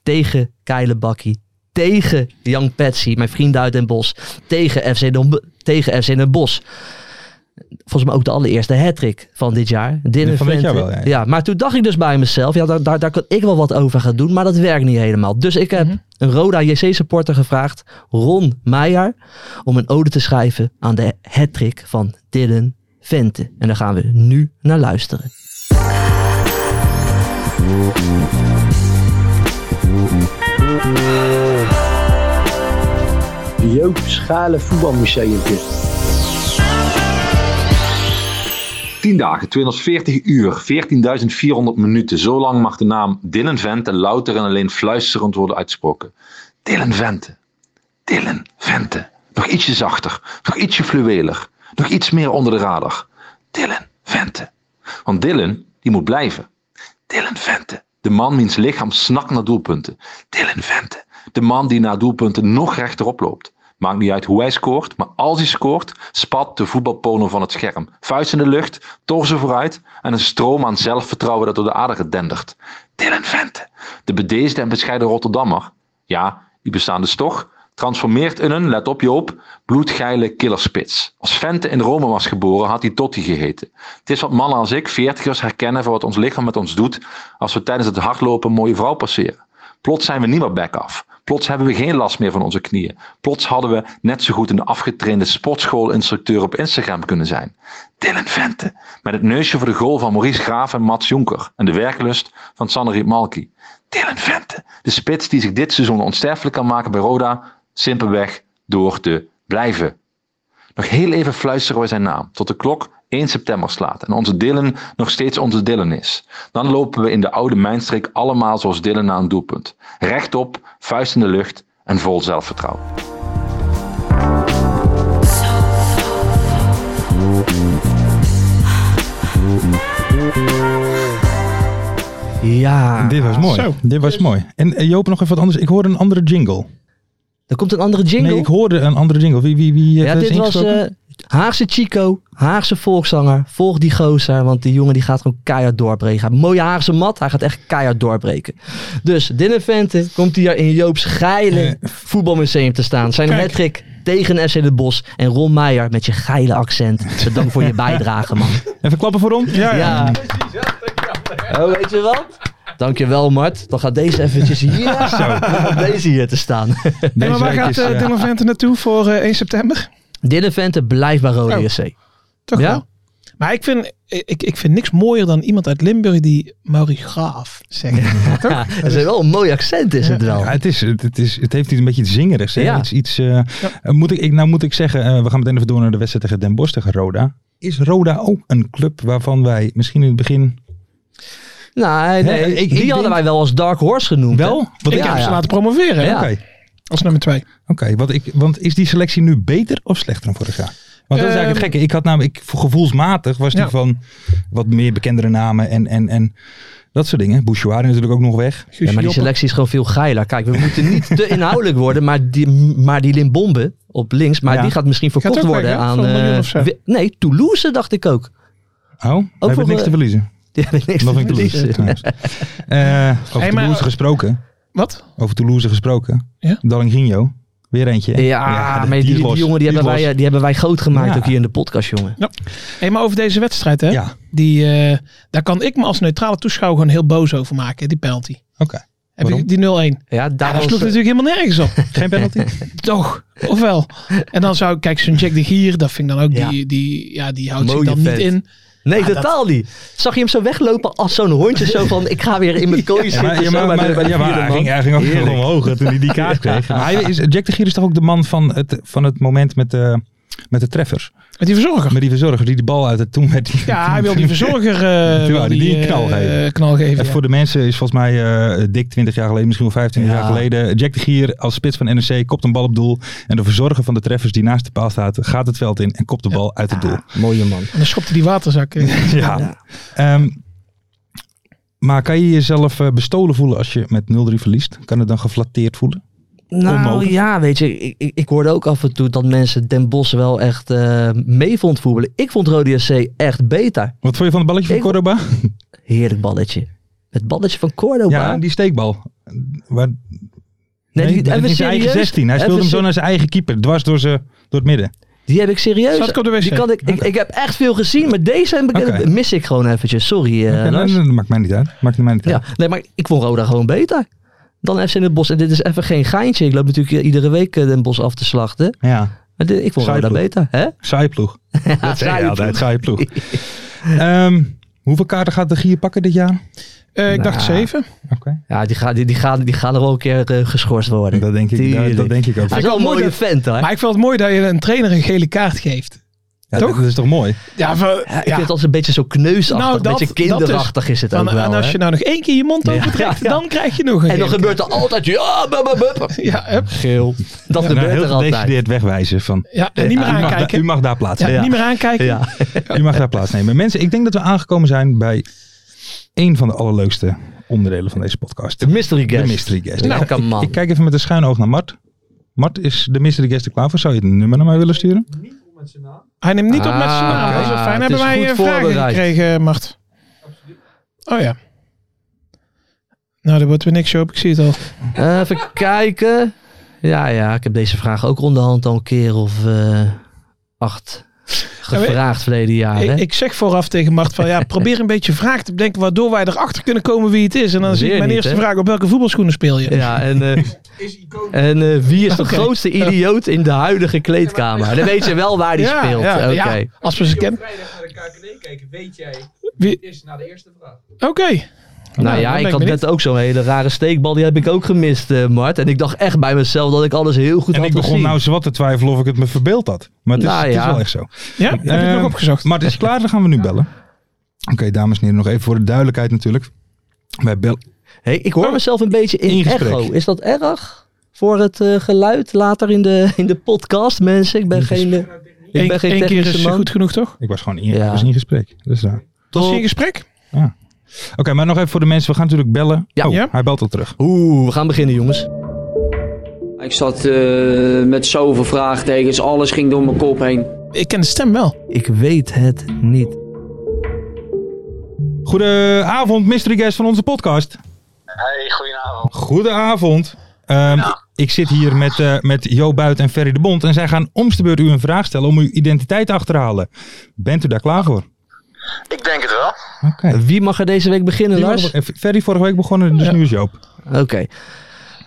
F: tegen Keile Bakkie. Tegen Jan Patsy, mijn vriend uit Den Bosch. Tegen FC Den, tegen FC Den Bosch. Volgens mij ook de allereerste hat-trick van dit jaar. Dylan
D: Van dit
F: Vente.
D: jaar wel, ja, ja.
F: maar toen dacht ik dus bij mezelf, ja, daar, daar, daar kan ik wel wat over gaan doen, maar dat werkt niet helemaal. Dus ik
D: Mhm.
F: heb een Roda JC-supporter gevraagd, Ron Meijer, om een ode te schrijven aan de hat-trick van Dylan Vente. En daar gaan we nu naar luisteren.
G: Joop Schalen Voetbalmuseumpje.
H: 10 dagen, 240 uur, 14.400 minuten. Zo lang mag de naam Dylan Vente louter en alleen fluisterend worden uitgesproken. Dylan Vente. Dylan Vente. Nog ietsje zachter, nog ietsje fluweler, nog iets meer onder de radar. Dylan Vente. Want Dylan, die moet blijven. Dylan Vente. De man wiens lichaam snakt naar doelpunten. Dylan Vente. De man die naar doelpunten nog rechterop loopt. Maakt niet uit hoe hij scoort, maar als hij scoort, spat de voetbalpono van het scherm. Vuist in de lucht, torsen vooruit en een stroom aan zelfvertrouwen dat door de aarde dendert. Dylan Vente. De bedeesde en bescheiden Rotterdammer. Ja, die bestaan dus toch. Transformeert in een, let op Joop, bloedgeile killerspits. Als Vente in Rome was geboren, had hij Totti geheten. Het is wat mannen als ik, veertigers, herkennen van wat ons lichaam met ons doet als we tijdens het hardlopen een mooie vrouw passeren. Plots zijn we niet meer back af. Plots hebben we geen last meer van onze knieën. Plots hadden we net zo goed een afgetrainde sportschoolinstructeur op Instagram kunnen zijn. Dylan Vente, met het neusje voor de goal van Maurice Graaf en Mats Jonker en de werklust van Sannerit Malki. Dylan Vente, de spits die zich dit seizoen onsterfelijk kan maken bij Roda, simpelweg door te blijven. Nog heel even fluisteren we zijn naam, tot de klok 1 september slaat en onze Dylan nog steeds onze Dylan is. Dan lopen we in de oude mijnstreek allemaal zoals Dylan naar een doelpunt. Rechtop, vuist in de lucht en vol zelfvertrouwen.
F: Ja.
D: Dit was mooi.
E: Ah, Zo.
D: Dit was mooi. En eh, Joop, nog even wat anders. Ik hoorde een andere jingle.
F: Er komt een andere jingle.
D: Nee, ik hoorde een andere jingle. Wie, wie, wie heeft
F: ja,
D: dat
F: dit was
D: ingesproken?
F: eh, Haagse Chico, Haagse volkszanger. Volg die gozer, want die jongen die gaat gewoon keihard doorbreken. Hij heeft een mooie Haagse mat, hij gaat echt keihard doorbreken. Dus Dylan Vente komt hier in Joop's geile voetbalmuseum te staan. Zijn
E: Kijk.
F: hattrick tegen FC De Bos en Ron Meijer met je geile accent. Dus Bedankt voor je bijdrage, man.
D: Even klappen voor ons.
F: Ja. Oh, weet je wat? Dankjewel, Mart. Dan gaat deze eventjes hier. Zo. Deze hier te staan.
E: Hey, maar waar
D: week
E: gaat
D: is,
E: eh,
D: eh,
E: Dylan Vente naartoe voor eh, 1 september?
F: Dylan Vente blijft bij Rode
E: Oh.
F: JC.
E: Toch
F: Ja?
E: wel? Maar ik vind, ik, ik vind niks mooier dan iemand uit Limburg die Mauri Graaf zegt.
F: Ja, dat is wel een mooi accent, is het wel.
D: Ja, het, is, het, het is, het heeft iets een beetje iets zingerigs. hè?
F: Ja.
D: Iets, iets, eh, eh, moet ik, ik, nou moet ik zeggen, eh, we gaan meteen even door naar de wedstrijd tegen Den Bosch tegen Roda. Is Roda ook een club waarvan wij misschien in het begin
F: Nou, nee,
D: Hè, ik- ik
F: die
D: denk-
F: hadden wij wel als Dark Horse genoemd. hè?
D: wel? Want
E: ik
D: ik-
F: Ja,
E: heb
F: ja.
E: ze laten promoveren hè,
F: Ja.
D: Oké,
E: als nummer 2.
D: oké, want ik- want is die selectie nu beter of slechter dan vorig jaar? Want dat is eigenlijk het
E: Ehm,
D: gekke. Ik had namelijk, ik, gevoelsmatig was die
E: Ja.
D: van wat meer bekendere namen en, en, en dat soort dingen. Bouchoir natuurlijk ook nog weg.
F: Ja, maar die selectie is gewoon veel geiler. Kijk, we moeten niet te inhoudelijk worden, maar die, maar die Limbombe op links, maar
D: Ja.
F: die gaat misschien verkocht
E: ook weg,
F: worden
E: hè?
F: aan...
E: Voor een miljoen
F: eh,
E: of zo.
F: we- nee, Toulouse dacht ik ook.
D: Oh, we hebben
F: voor,
D: niks te
F: eh,
D: verliezen.
F: Die hebben niks
D: Dat
F: te
D: vind ik Toulouse.
F: verliezen.
D: trouwens. Eh, over
E: Hey, maar-
D: Toulouse gesproken.
E: Wat?
D: Over Toulouse gesproken.
E: Ja?
D: Dallinginho. Weer eentje. hè?
F: Ja,
D: de-
F: maar die,
D: is
F: die
D: los.
F: jongen die hebben,
D: is
F: wij,
D: los.
F: eh, die hebben wij groot gemaakt
D: Ja.
F: ook hier in de podcast, jongen.
E: Hey, maar over deze wedstrijd, hè?
D: Ja,
E: Die, eh, daar kan ik me als neutrale toeschouwer gewoon heel boos over maken, die penalty.
D: oké.
E: Heb
D: Waarom?
E: je die 0-1? Ja,
F: Ja, daar
E: dat
F: was, eh,
E: sloeg natuurlijk helemaal nergens op.
D: Geen penalty?
E: Toch? Ofwel. En dan zou ik, kijk, zo'n Jack de Gier, dat vind ik dan ook,
F: Ja.
E: die, die, ja, die houdt
F: Mooie
E: zich dan
F: vent.
E: niet in.
F: Nee,
E: Ah, dat-
F: totaal niet. Zag je hem zo weglopen als zo'n hondje? Zo van, ik ga weer in mijn kooi
D: Ja,
F: zitten.
D: maar, ja, maar,
F: zo dus bij de-
D: maar-
F: bij de
D: ja, maar
F: vierde
D: hij,
F: man.
D: ging, hij ging ook
F: Heerlijk.
D: nog omhoog hè, toen hij die kaart kreeg. Maar hij is, Jack de Gier is toch ook de man van het, van het moment met de, met de treffers.
E: Met die verzorger.
D: Met die verzorger die de bal uit het toen werd.
E: Ja, hij wil die verzorger eh,
D: Toen wou
E: wil
D: hij die
E: eh,
D: knal geven.
E: knal
D: En
E: geven, ja.
D: voor de mensen is volgens mij eh, dik 20 jaar geleden, misschien wel 25
F: Ja.
D: jaar geleden. Jack de Gier als spits van NEC kopt een bal op doel. En de verzorger van de treffers die naast de paal staat, gaat het veld in en kopt de bal uit het doel.
F: Mooie man.
E: En dan schopte die waterzak. eh.
D: Ja. Ehm, maar kan je jezelf eh, bestolen voelen als je met 0-3 verliest? Kan het dan geflatteerd voelen?
F: Nou
D: Onmogelijk.
F: ja, weet je, ik, ik, ik hoorde ook af en toe dat mensen Den Bos wel echt eh mee vond voetballen. Ik vond Rode SC echt beter.
D: Wat vond je van het balletje van
F: Ik-
D: Cordoba?
F: Heerlijk balletje. Het balletje van Cordoba.
D: Ja, die steekbal. Waar,
F: nee,
D: nee,
F: die,
D: dat
F: even
D: is zijn
F: serieus,
D: eigen 16. Hij speelde
F: even
D: hem zo
F: se-
D: naar zijn eigen keeper, dwars door, ze, door het midden.
F: Die heb ik serieus.
E: Zat ik op de wc?
F: Die kan ik, ik, ik heb echt veel gezien, maar deze heb ik-
D: Oké.
F: mis ik gewoon eventjes. Sorry, eh
D: Oké, nou,
F: Lars.
D: dat maakt mij niet uit. Maakt mij niet uit.
F: Ja, nee, maar ik vond Roda gewoon beter dan FC Den Bos. En dit is even geen geintje. Ik loop natuurlijk eh, iedere week eh, Den Bos af te slachten.
D: Ja.
F: Maar dit- ik vond
D: Saai
F: Roda beter. Hè?
D: Saaie ploeg. dat zei
F: saaie
D: je altijd, saaie ploeg. Ehm, hoeveel kaarten gaat de Gier pakken dit jaar?
E: Eh, ik dacht
F: Nou.
E: zeven.
D: Oké.
F: Ja, die gaan die, die gaan, die gaan er wel een keer eh, geschorst worden.
D: Dat denk ik,
F: Tuurlijk.
D: dat, Nou, dat denk ik ook.
F: Hij is wel
E: Vind
F: een
E: ik wel
F: mooie
E: mooi
F: vent hoor.
E: Maar ik vind het mooi dat je een trainer een gele kaart geeft.
D: Ja,
E: toch?
D: Dat is toch mooi?
E: Ja, we-
F: Ja, ik
E: ja.
F: vind het als een beetje zo kneusachtig,
E: Nou,
F: een
E: dat-
F: beetje
E: dat is-
F: kinderachtig is, het
E: Dan,
F: ook wel.
E: en als
F: hè?
E: je nou nog één keer je mond
F: Ja,
E: overtrekt,
F: ja.
E: dan krijg je nog een
F: en dan
E: gele
F: gebeurt er altijd, ja, bup, bup, bup.
E: kaart. Ja, hup.
F: Geel. Dat
D: Nou,
F: gebeurt
D: heel
F: er altijd.
D: gedecideerd wegwijzen van... Ah,
E: ja en niet meer
D: u, mag daar,
E: aankijken.
D: u mag daar
E: Ja,
D: plaatsnemen.
E: Niet meer aankijken.
F: Ja.
D: U mag daar plaatsnemen. Mensen, ik denk dat we aangekomen zijn bij één van de allerleukste onderdelen van deze podcast.
F: De mystery guest.
D: De mystery guest.
F: Nou,
D: Ik ga-
F: come
D: ik,
F: on.
D: ik kijk even met een schuin oog naar Mart. Mart, is de mystery guest er klaar voor? Zou je het nummer naar mij willen sturen?
E: Hij neemt niet op met zijn naam.
F: Ah,
E: Dat is wel fijn.
F: het
E: Hebben
F: is
E: wij
F: goed
E: eh, vragen
F: voorbereid.
E: gekregen, Mart? Oh ja. Nou, daar wordt weer niks op. Ik zie het al.
F: Eh, even kijken. Ja, ja, ik heb deze vraag ook onderhand al een keer of eh, acht gevraagd verleden jaar. Ah, hè?
E: Ik, ik zeg vooraf tegen Mart van ja, probeer een beetje vragen te bedenken waardoor wij erachter kunnen komen wie het is. En dan
F: Weer
E: zie ik mijn
F: niet,
E: eerste
F: hè?
E: vraag op welke voetbalschoenen speel je?
F: Ja, en, eh, en eh, wie is de
E: Oké.
F: grootste idioot in de huidige kleedkamer? Dan weet je wel waar die
E: Ja,
F: speelt.
E: ja,
F: Oké.
E: ja. Als we ze kennen. Wie- Oké.
F: Nou
E: dan
F: ja,
E: ben
F: ik had
E: benieuwd.
F: net ook zo'n hele rare steekbal. Die heb ik ook gemist, eh, Mart. En ik dacht echt bij mezelf dat ik alles heel goed
D: En
F: had
D: ik begon
F: gezien.
D: nou zowat te twijfelen of ik het me verbeeld had. Maar het is,
F: Nou
D: het is
F: ja.
D: wel echt zo.
E: Ja, heb je het
F: Eh,
D: Ehm,
E: nog opgezocht?
D: Mart is klaar, dan gaan we nu bellen. Oké, dames en heren, nog even voor de duidelijkheid natuurlijk. Wij bellen.
F: Hey, ik hoor mezelf een beetje in,
D: In gesprek.
F: echo. Is dat erg voor het eh, geluid later in de, in de podcast, mensen? Ik ben geen, eh, ik ben
E: Eén
F: geen
E: één keer
F: technische
E: is
F: man.
E: goed genoeg, toch?
D: Ik was gewoon in,
F: Ja.
D: ik was in gesprek. Dat is raar.
E: Was je in
F: Top.
E: gesprek?
D: Oké, maar nog even voor de mensen. We gaan natuurlijk bellen.
F: Ja.
D: Oh,
E: Ja.
D: hij belt al terug.
F: Oeh, we gaan beginnen, jongens.
I: Ik zat eh, met zoveel vraagtekens, alles ging door mijn kop heen.
E: Ik ken de stem wel.
F: Ik weet het niet.
D: Goedenavond, mystery guest van onze podcast.
J: Hey, goedenavond.
D: Goedenavond. Ehm, Ik zit hier met, eh, met Jo Buit en Ferry de Bond. En zij gaan om de beurt u een vraag stellen om uw identiteit achter te halen. Bent u daar klaar voor?
J: Ik denk het wel.
D: Oké.
F: Wie mag er deze week beginnen, Lars?
D: Ferry vorige week begonnen, dus nu is Joop.
F: Oké.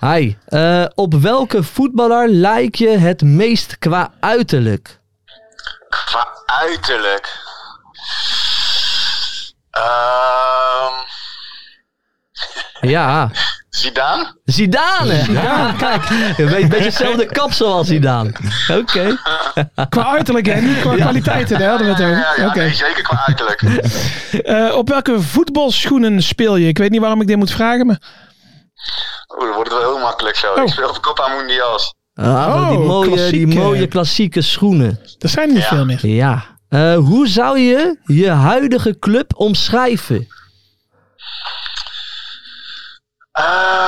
F: Hi. Eh, op welke voetballer lijk je het meest qua uiterlijk?
J: Qua uiterlijk. Ehm
F: Ja,
J: Zidane?
F: Zidane. Ja, kijk. Een beetje- beetje hetzelfde kapsel als Zidane. Oké.
E: Qua uiterlijk en niet qua kwaliteiten, daar hadden we het over.
J: Ja, ja
E: Oké.
J: nee, zeker qua uiterlijk.
E: Eh, op welke voetbalschoenen speel je? Ik weet niet waarom ik dit moet vragen, maar...
J: Oeh, dan wordt het wel heel makkelijk zo.
E: Oh.
J: Ik speel op Copa Mundials.
F: Ah,
E: Oh,
F: die, mooie, die
E: klassieke.
F: mooie klassieke schoenen.
E: Er zijn er niet veel meer.
F: Ja. Eh, hoe zou je je huidige club omschrijven?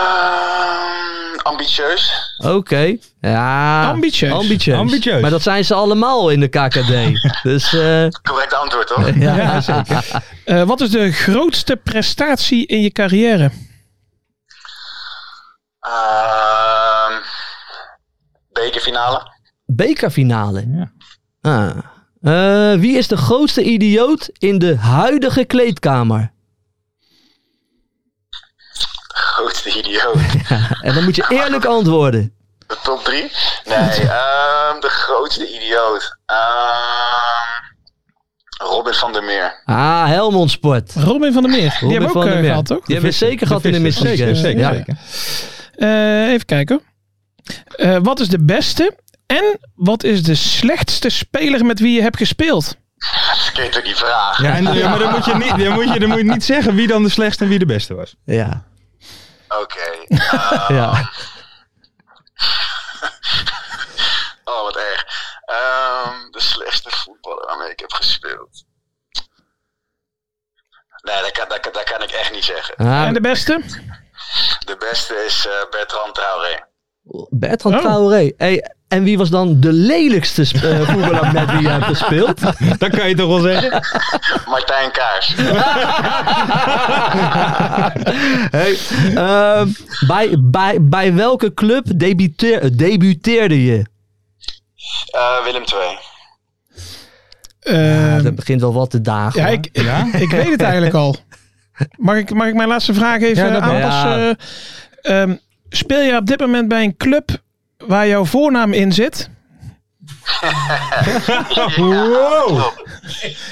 J: Ehm ambitieus.
F: Oké. Ja.
E: Ambitieus.
F: Ambitieus.
D: Ambitieus.
F: Maar dat zijn ze allemaal in de KKD. dus eh,
J: Correct antwoord, toch?
F: ja.
E: Eh, wat is de grootste prestatie in je carrière?
J: Ehm BK bekerfinale.
F: Bekerfinale. Ah. Eh, wie is de grootste idioot in de huidige kleedkamer?
J: Grootste idioot.
F: En dan moet je eerlijk antwoorden.
J: De top drie? Nee, ehm, de grootste idioot. Ehm, Robin van der Meer.
F: Ah, Helmond Sport.
E: Robin van der Meer.
F: Robin
E: die hebben we ook
F: van der
E: eh,
F: Meer.
E: gehad, toch?
F: Die hebben we zeker gehad in de
D: visser.
F: Mystery
D: Zeker,
F: Games.
D: zeker,
F: Ja.
D: zeker.
E: Eh, even kijken. Eh, wat is de beste en wat is de slechtste speler met wie je hebt gespeeld?
J: Dat kun je toch niet vragen?
D: Ja, en, ja, maar dan moet, je niet, dan, moet je, dan moet je niet zeggen wie dan de slechtste en wie de beste was.
F: Ja.
J: Oké. ehm,
F: Ja.
J: Oh, wat erg. Ehm, de slechtste voetballer waarmee ik heb gespeeld. Nee, dat kan, dat, kan, dat kan ik echt niet zeggen.
F: Ah,
E: En de beste?
J: De beste is eh, Bertrand Traoré.
F: Bertrand
E: Oh.
F: Traoré. Hey, en wie was dan de lelijkste sp- eh, voetballer met wie je hebt gespeeld?
D: Dat kan je toch wel zeggen?
J: Martijn Kaars.
F: Hey, ehm, bij, bij, bij welke club debuteer- eh, debuteerde je?
J: Eh, Willem II.
E: Ehm,
F: Dat begint wel wat te dagen.
E: ja,
F: hoor.
E: ik, ik weet het eigenlijk al. Mag ik, mag ik mijn laatste vraag even
D: Ja, dat mag.
E: aanpassen?
F: Ja.
E: Eh, ehm, speel je op dit moment bij een club waar jouw voornaam in zit?
D: Wow!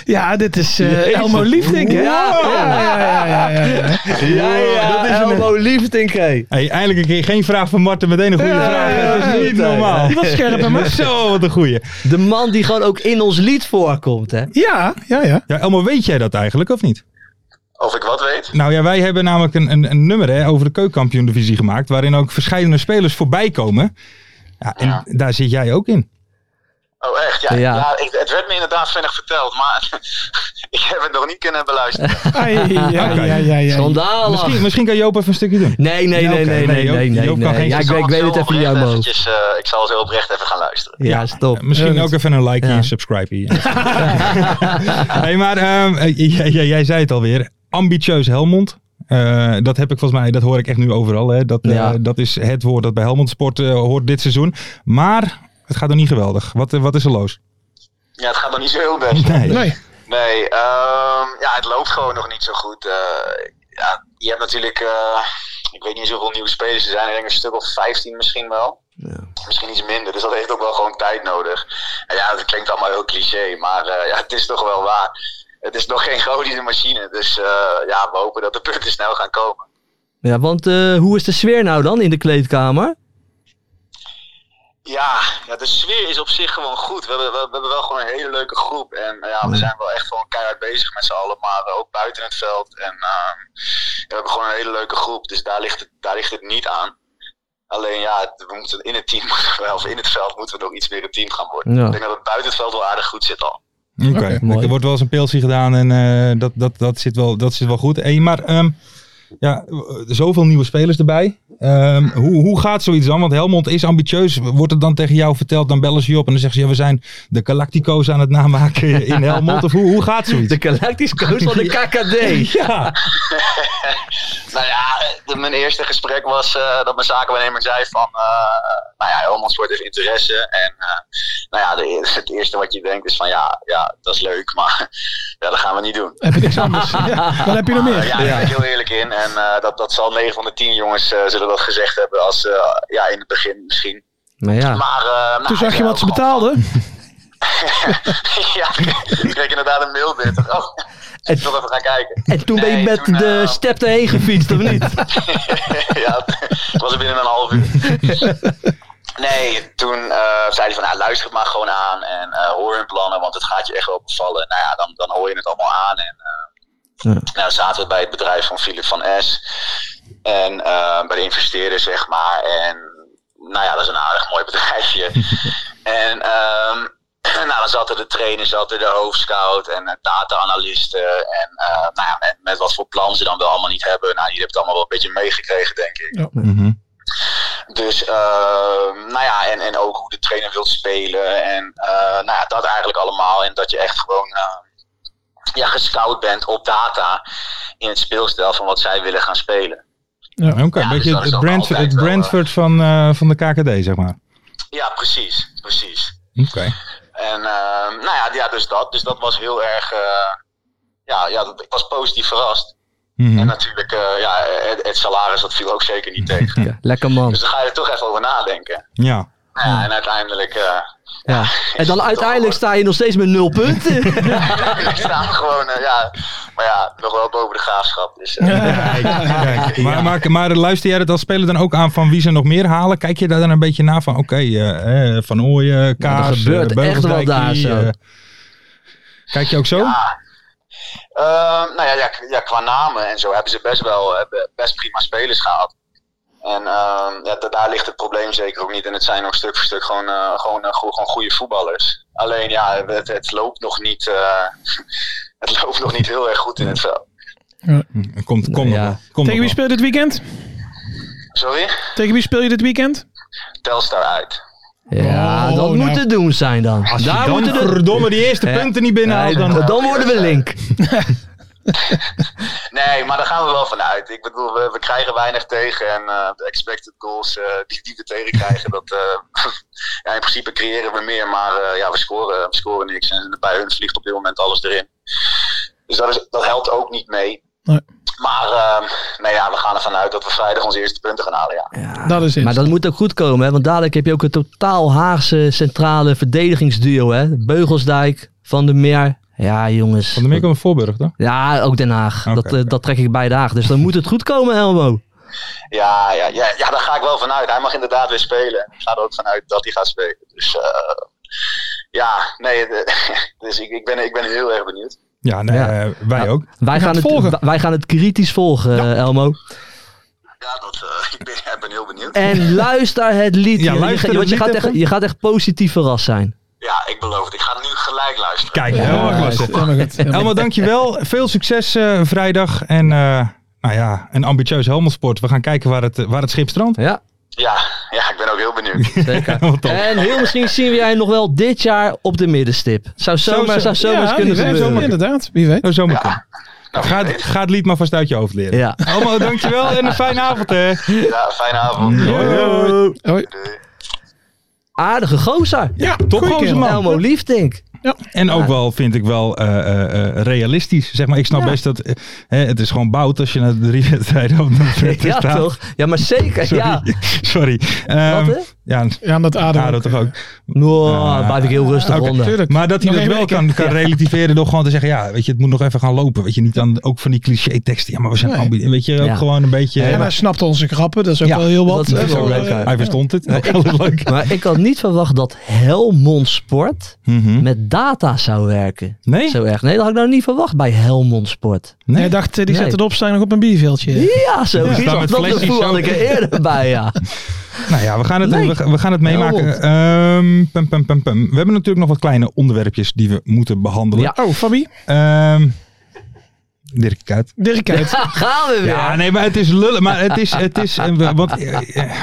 E: Ja, dit is eh
F: Jezus.
E: Elmo Liefdink. hè?
F: Ja,
E: ja, ja, ja, ja, ja.
F: Ja, ja,
D: dat is een-
F: Elmo Liefdink, hé.
D: Hey, eindelijk een keer geen vraag van Marten, meteen een goede
E: Ja,
D: vraag.
E: ja,
D: Het
E: ja,
D: is niet
F: ja.
D: normaal.
E: Die was scherp, hè, Mart?
D: Zo, wat een goeie.
F: De man die gewoon ook in ons lied voorkomt, hè.
E: Ja, ja, ja.
D: Ja, Elmo, weet jij dat eigenlijk of niet?
J: Of ik wat weet?
D: Nou ja, wij hebben namelijk een, een, een nummer hè, over de keukenkampioen-divisie gemaakt. waarin ook verschillende spelers voorbij komen. Ja, en
J: Ja.
D: daar zit jij ook in.
J: Oh, echt? Ja,
F: Ja.
J: ja. ik, het werd me inderdaad vinnig verteld, maar ik heb het nog niet kunnen beluisteren.
E: Ai, ja, ja, ja, ja.
F: Schandalig.
D: Misschien, misschien kan Joop even een stukje doen.
F: Nee, nee,
D: Ja,
F: nee,
D: oké. Nee,
F: nee, nee,
D: Joop-
F: nee, nee.
D: Joop kan geen-
F: nee. Ja, ik
J: zal
F: weet, ik weet
J: zo
F: het even niet,
J: oprecht
F: Elmo.
J: eventjes, eh, ik zal zo oprecht even gaan luisteren.
F: Ja, stop.
D: Misschien
E: Ja,
D: ook even een like
F: ja.
D: en subscribe hier. hey, maar ehm, eh, jij, jij- jij zei het alweer. Ambitieus Helmond. Eh, dat heb ik volgens mij, dat hoor ik echt nu overal. Hè. Dat, eh,
F: Ja.
D: dat is het woord dat bij Helmond Sport eh, hoort dit seizoen. Maar het gaat nog niet geweldig. Wat, eh, wat is er los?
J: Ja, het gaat nog niet zo heel best.
E: Nee.
J: Nee, ehm, ja, het loopt gewoon nog niet zo goed. Eh, ja, je hebt natuurlijk, eh, ik weet niet hoeveel nieuwe spelers er zijn. Ik denk een stuk of 15 misschien wel. Misschien iets minder. Dus dat heeft ook wel gewoon tijd nodig. En ja, dat klinkt allemaal heel cliché, maar eh, ja, het is toch wel waar. Het is nog geen godische machine. Dus eh, ja, we hopen dat de punten snel gaan komen.
F: Ja, want eh, hoe is de sfeer nou dan in de kleedkamer?
J: Ja, ja, de sfeer is op zich gewoon goed. We hebben, we, we hebben wel gewoon een hele leuke groep. En eh, ja, we zijn wel echt gewoon keihard bezig met z'n allen, maar eh, ook buiten het veld. En ehm, ja, we hebben gewoon een hele leuke groep, dus daar ligt het, daar ligt het niet aan. Alleen ja, het- we moeten in het team, moeten we- of in het veld moeten we nog iets meer een team gaan worden.
F: Ja.
J: Ik denk dat het buiten het veld wel aardig goed zit al.
D: Oké,
F: mooi.
D: er wordt wel eens een pilsie gedaan en eh, dat, dat, dat, zit wel, dat zit wel goed. Hey, maar ehm, ja, eh, zoveel nieuwe spelers erbij. Ehm, hoe, hoe gaat zoiets dan? Want Helmond is ambitieus. Wordt het dan tegen jou verteld, dan bellen ze je op en dan zeggen ze... Ja, we zijn de Galactico's aan het namaken in Helmond. Of hoe, hoe gaat zoiets?
F: De Galactisch Coach van de KKD.
D: Ja,
J: Nou ja, de- mijn eerste gesprek was eh, dat mijn zakenwaarnemer zei van, eh, nou ja, Helmond Sport heeft interesse. En eh, nou ja, de e- het eerste wat je denkt is van, ja, ja dat is leuk, maar ja, dat gaan we niet doen.
E: Heb je niks anders? Ja, wat heb je nog
J: Eh,
E: meer?
J: ja, daar ben ik heel eerlijk in. En eh, dat, dat zal 9 van de 10 jongens eh, zullen dat gezegd hebben als, eh, ja, in het begin misschien.
F: Maar ja,
J: Maar, eh, nou,
E: Toen
J: ik
E: zag je
J: zei
E: wat ze
J: ook gewoon
E: betaalden.
J: van- ja, ik kreeg inderdaad een mail binnen. Oh, ik wil even gaan kijken.
F: en toen ben je
J: Nee,
F: met
J: toen,
F: de
J: eh,
F: step erheen gefietst, of niet?
J: ja, het was er binnen een half uur. Nee, toen eh, zei hij van, nou, luister het maar gewoon aan en eh, hoor hun plannen, want het gaat je echt wel bevallen. Nou ja, dan, dan hoor je het allemaal aan. En, eh,
F: Ja.
J: Nou zaten we bij het bedrijf van Philip van S. En eh, bij de investeerder, zeg maar. En nou ja, dat is een aardig mooi bedrijfje. en ehm, nou, dan zaten de trainer, zaten de hoofdscout en eh, data-analysten. En eh, nou ja, met, met wat voor plan ze dan wel allemaal niet hebben. Nou, jullie hebben het allemaal wel een beetje meegekregen, denk ik. Dus, ehm, nou ja, en, en ook hoe de trainer wil spelen. En eh, nou ja, dat eigenlijk allemaal. En dat je echt gewoon eh, ja, gescout bent op data in het speelstijl van wat zij willen gaan spelen.
D: oké.
J: Ja,
D: een
J: dus
D: beetje
J: dat is
D: het,
J: ook
D: Brand,
J: altijd
D: het
J: wel, eh,
D: Brandford van, eh, van de KKD, zeg maar.
J: Ja, precies. Precies.
D: Oké.
J: En ehm, nou ja, ja, dus dat. Dus dat was heel erg. eh, ja, ja dat, ik was positief verrast.
D: Mhm.
J: En natuurlijk, eh, ja, het, het salaris dat viel ook zeker niet tegen.
F: Ja, lekker man.
J: Dus daar ga je er toch even over nadenken.
D: Ja.
J: Nou Ja, en uiteindelijk. eh,
F: Ja. En dan uiteindelijk sta je nog steeds met nul punten.
J: ik sta gewoon, eh, ja. Maar ja, nog wel boven de graafschap. Dus, eh,
D: Kijk, maar, maar, maar luister jij dat als speler dan ook aan van wie ze nog meer halen? Kijk je daar dan een beetje naar van, oké, eh, eh, Van Ooyen, Kaas, eh,
F: gebeurt echt wel
D: Beugeldijk,
F: daar
D: die,
F: zo.
D: eh, kijk je ook zo?
J: Ehm, nou ja, ja, k- ja, qua namen en zo hebben ze best wel eh, be- best prima spelers gehad. En ehm, ja, da- daar ligt het probleem zeker ook niet. En het zijn ook stuk voor stuk gewoon, eh, gewoon, eh, go- gewoon goede voetballers. Alleen ja, het, het loopt nog niet. eh, het loopt nog niet heel erg goed in het veld.
D: Komt, komt nog
F: ja.
D: wel, komt
E: Tegen wie
D: nog wel.
E: speel je dit weekend?
J: Sorry?
E: Tegen wie speel je dit weekend?
J: Telstar uit.
F: Ja,
E: Oh,
F: dat
E: nou.
F: moet het doen zijn dan.
D: Als je
F: Daar
D: dan
F: moeten de-
D: verdomme die eerste
F: Ja.
D: punten niet binnenhaalt,
F: Nee,
D: dan...
F: dan, dan worden we link.
J: Nee, maar daar gaan we wel van uit. Ik bedoel, we, we krijgen weinig tegen. En eh, de expected goals eh, die, die we tegenkrijgen, dat, eh, ja, in principe creëren we meer. Maar eh, ja, we scoren, we scoren niks. En bij hun vliegt op dit moment alles erin. Dus dat, is, dat helpt ook niet mee.
E: Nee.
J: Maar ehm, nee, ja, we gaan ervan uit dat we vrijdag onze eerste punten gaan halen. Ja.
E: Dat is het.
F: Maar dat moet ook goed komen, hè? want dadelijk heb je ook een totaal Haagse centrale verdedigingsduo. Hè? Beugelsdijk, Van der Meer. Ja, jongens.
D: Van de Meer komen Voorburg, toch?
F: Ja, ook Den Haag.
D: Oké,
F: dat, eh,
D: oké.
F: dat trek ik bij Den Haag. Dus dan moet het goed komen, Elmo.
J: Ja, ja, ja, ja, daar ga ik wel van uit. Hij mag inderdaad weer spelen. Ik ga er ook van uit dat hij gaat spelen. Dus eh, ja, nee, de- dus ik, ik, ben, ik ben heel erg benieuwd.
D: Ja, nee,
F: Ja.
D: eh, wij
F: Ja.
D: ook.
F: Wij gaan,
E: het
F: het,
E: volgen.
F: wa- wij gaan het kritisch volgen, eh, Elmo.
J: Ja, dat, eh, ik, ben, ik ben heel benieuwd.
F: En luister het lied.
D: Ja,
F: Je- je-
D: luister
F: je,
D: het
F: want je,
D: lied
F: gaat
D: even.
F: echt, je gaat echt positief verrast zijn.
J: Ja, ik beloof het. Ik ga nu gelijk luisteren.
D: Kijk,
E: Ja,
D: helemaal klasse.
E: helemaal goed. Helemaal
D: Elmo, dankjewel. Veel succes eh, vrijdag. En eh, nou ja, een ambitieus Helmelsport. We gaan kijken waar het, eh, waar het schip strandt.
F: Ja,
J: Ja, ja, ik ben ook heel benieuwd.
F: zeker.
D: Wat tof.
F: en heel misschien zien we jij nog wel dit jaar op de middenstip. Zou
D: zo-
F: zomaar, zou zomaar eens
E: Ja,
F: kunnen
E: wie weet,
F: gebeuren.
E: Inderdaad, wie weet.
D: Nou, zomaar kan.
J: Nou,
D: Ga, het- ga het lied maar vast uit je hoofd leren.
F: Ja.
D: Elmo, dankjewel en een fijne avond hè.
J: Ja, fijne avond.
E: Hoi.
J: Doei.
F: Aardige gozer.
E: Ja,
D: Top
E: goeie
D: gozer
E: kerel.
D: man.
F: Elmo Liefdink.
D: En ook wel, vind ik wel, eh, eh, eh, realistisch. Zeg maar, ik snap best dat, eh, hè, het is gewoon bout als je naar de drie wedstrijden op de veld
F: Ja,
D: staat.
F: toch? Ja, maar zeker.
D: Sorry.
F: Ja.
D: Sorry. Ehm,
F: Wat, hè?
D: ja,
E: Ja, omdat eh, Adem.
D: ja, dat toch ook.
F: Nou, dan blijf ik heel rustig
D: Ah, Oké,
F: ronden.
E: tuurlijk.
D: Maar dat hij dat
E: Nog één
D: wel
E: week, hè?
D: kan, kan relativeren door gewoon te zeggen, ja, weet je, het moet nog even gaan lopen. Weet je, niet dan ook van die cliché teksten. Ja, maar we zijn
E: Nee.
D: ambi- Weet je, ook
F: Ja.
D: gewoon een beetje...
E: En hij snapte onze grappen, dat is ook
D: Ja,
E: wel heel wat.
F: dat is
E: hè,
F: wel
E: voor,
F: leuk,
E: eh,
F: ja.
D: hij verstond het. Ook heel leuk.
F: Maar ik had niet verwacht dat Helmond Sport
D: Mhm.
F: met data zou werken.
D: Nee?
F: Zo erg. Nee, dat had ik nou niet verwacht bij Helmond Sport.
D: Nee?
E: Hij dacht, eh, die
F: Nee.
E: zetten de opstelling nog op een bierveeltje.
F: Ja, zo.
D: Ja, staan
F: dat
D: met
F: dat
D: flesjes
F: gevoel
D: zo.
F: had ik er eerder bij, ja.
D: Nou ja, we gaan het,
F: Nee.
D: we, we gaan het meemaken.
F: Helmond.
D: Ehm, pum, pum, pum, pum. We hebben natuurlijk nog wat kleine onderwerpjes die we moeten behandelen.
F: Ja. Oh, Fabi.
D: Ehm, Dirk Kuyt.
E: Dirk uit.
F: Gaan we weer.
D: Ja,
F: Ja,
D: nee, maar het is lullen. Maar het is... Het is eh, we- want, eh, eh,
F: het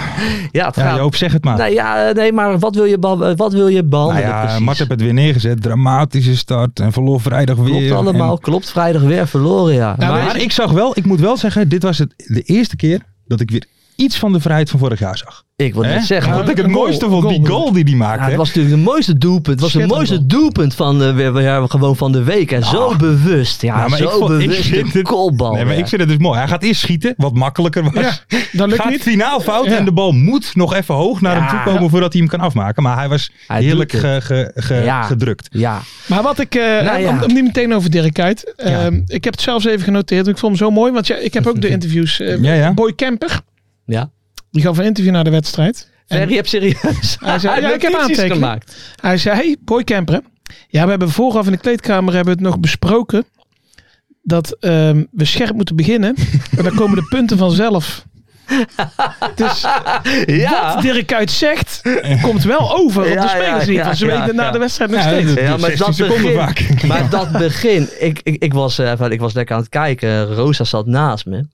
D: ja,
F: gaat.
D: Joop, zeg het maar.
F: nee, ja, eh, nee, maar wat wil je, beha- wat wil je
D: nou
F: behandelen
D: ja,
F: precies?
D: Mart heeft het weer neergezet. Dramatische start. En verloor vrijdag weer.
F: Klopt
D: En-
F: allemaal. Klopt vrijdag weer verloren, ja.
D: maar
F: maar,
D: ik zag wel... Ik moet wel zeggen, dit was het, de eerste keer dat ik weer iets van de vrijheid van vorig jaar zag.
F: ik wil
D: Hè?
F: net zeggen.
D: Wat ik het
E: Een goal,
D: mooiste
E: een
D: vond,
E: goal
D: die goal die die maakte.
F: Ja,
D: hè?
F: het was natuurlijk het mooiste doelpunt. Het was het
E: Schitterend
F: mooiste doelpunt van, eh, weer, weer- gewoon van de week. En zo bewust. Ja,
D: Ah. Ja, maar
F: zo
D: ik vond- ik
F: bewust.
D: vind
F: de
D: het-
F: kopbal.
D: Nee, maar
F: ja.
D: ik vind het dus mooi. Hij gaat eerst schieten, wat makkelijker was.
E: Ja, dat lukt
D: gaat
E: niet.
D: finaal fout
E: Ja.
D: en de bal moet nog even hoog naar
F: Ja.
D: hem toe komen voordat hij hem kan afmaken. Maar hij was
F: Hij
D: heerlijk
F: doet
D: ge, ge- ge-
F: Ja.
D: gedrukt.
F: Ja,
E: Maar wat ik, eh,
F: Nou ja.
E: om, om niet meteen over Dirk uit. Ehm, ik heb het zelfs even genoteerd. want Ik vond hem zo mooi. Want ja, ik heb ook de interviews. eh,
D: Ja, ja.
E: Boy Kemper,
F: ja.
E: die gaf een interview naar de wedstrijd. En
F: Ferry, je hebt serieus
E: Hij zei, ja, ik heb
F: notities
E: aantekeningen.
F: gemaakt.
E: hij zei, hey, Boy Kemper. hè. Ja, we hebben vooraf in de kleedkamer hebben we het nog besproken. Dat ehm, we scherp moeten beginnen. En dan komen de punten vanzelf. Dus
F: Ja.
E: wat Dirk Kuyt zegt, komt wel over op
F: Ja,
E: de spelers.
F: ja,
E: niet.
F: ja,
E: want ze
F: ja,
E: weten na
F: ja.
E: de wedstrijd nog
D: Ja,
E: steeds.
D: dat-
F: Ja,
D: doet
F: maar
D: 16
F: dat
D: seconden
F: begin,
D: vaak.
F: Maar dat begin. Ik, ik, ik, was, eh, van- ik was lekker aan het kijken. Rosa zat naast me.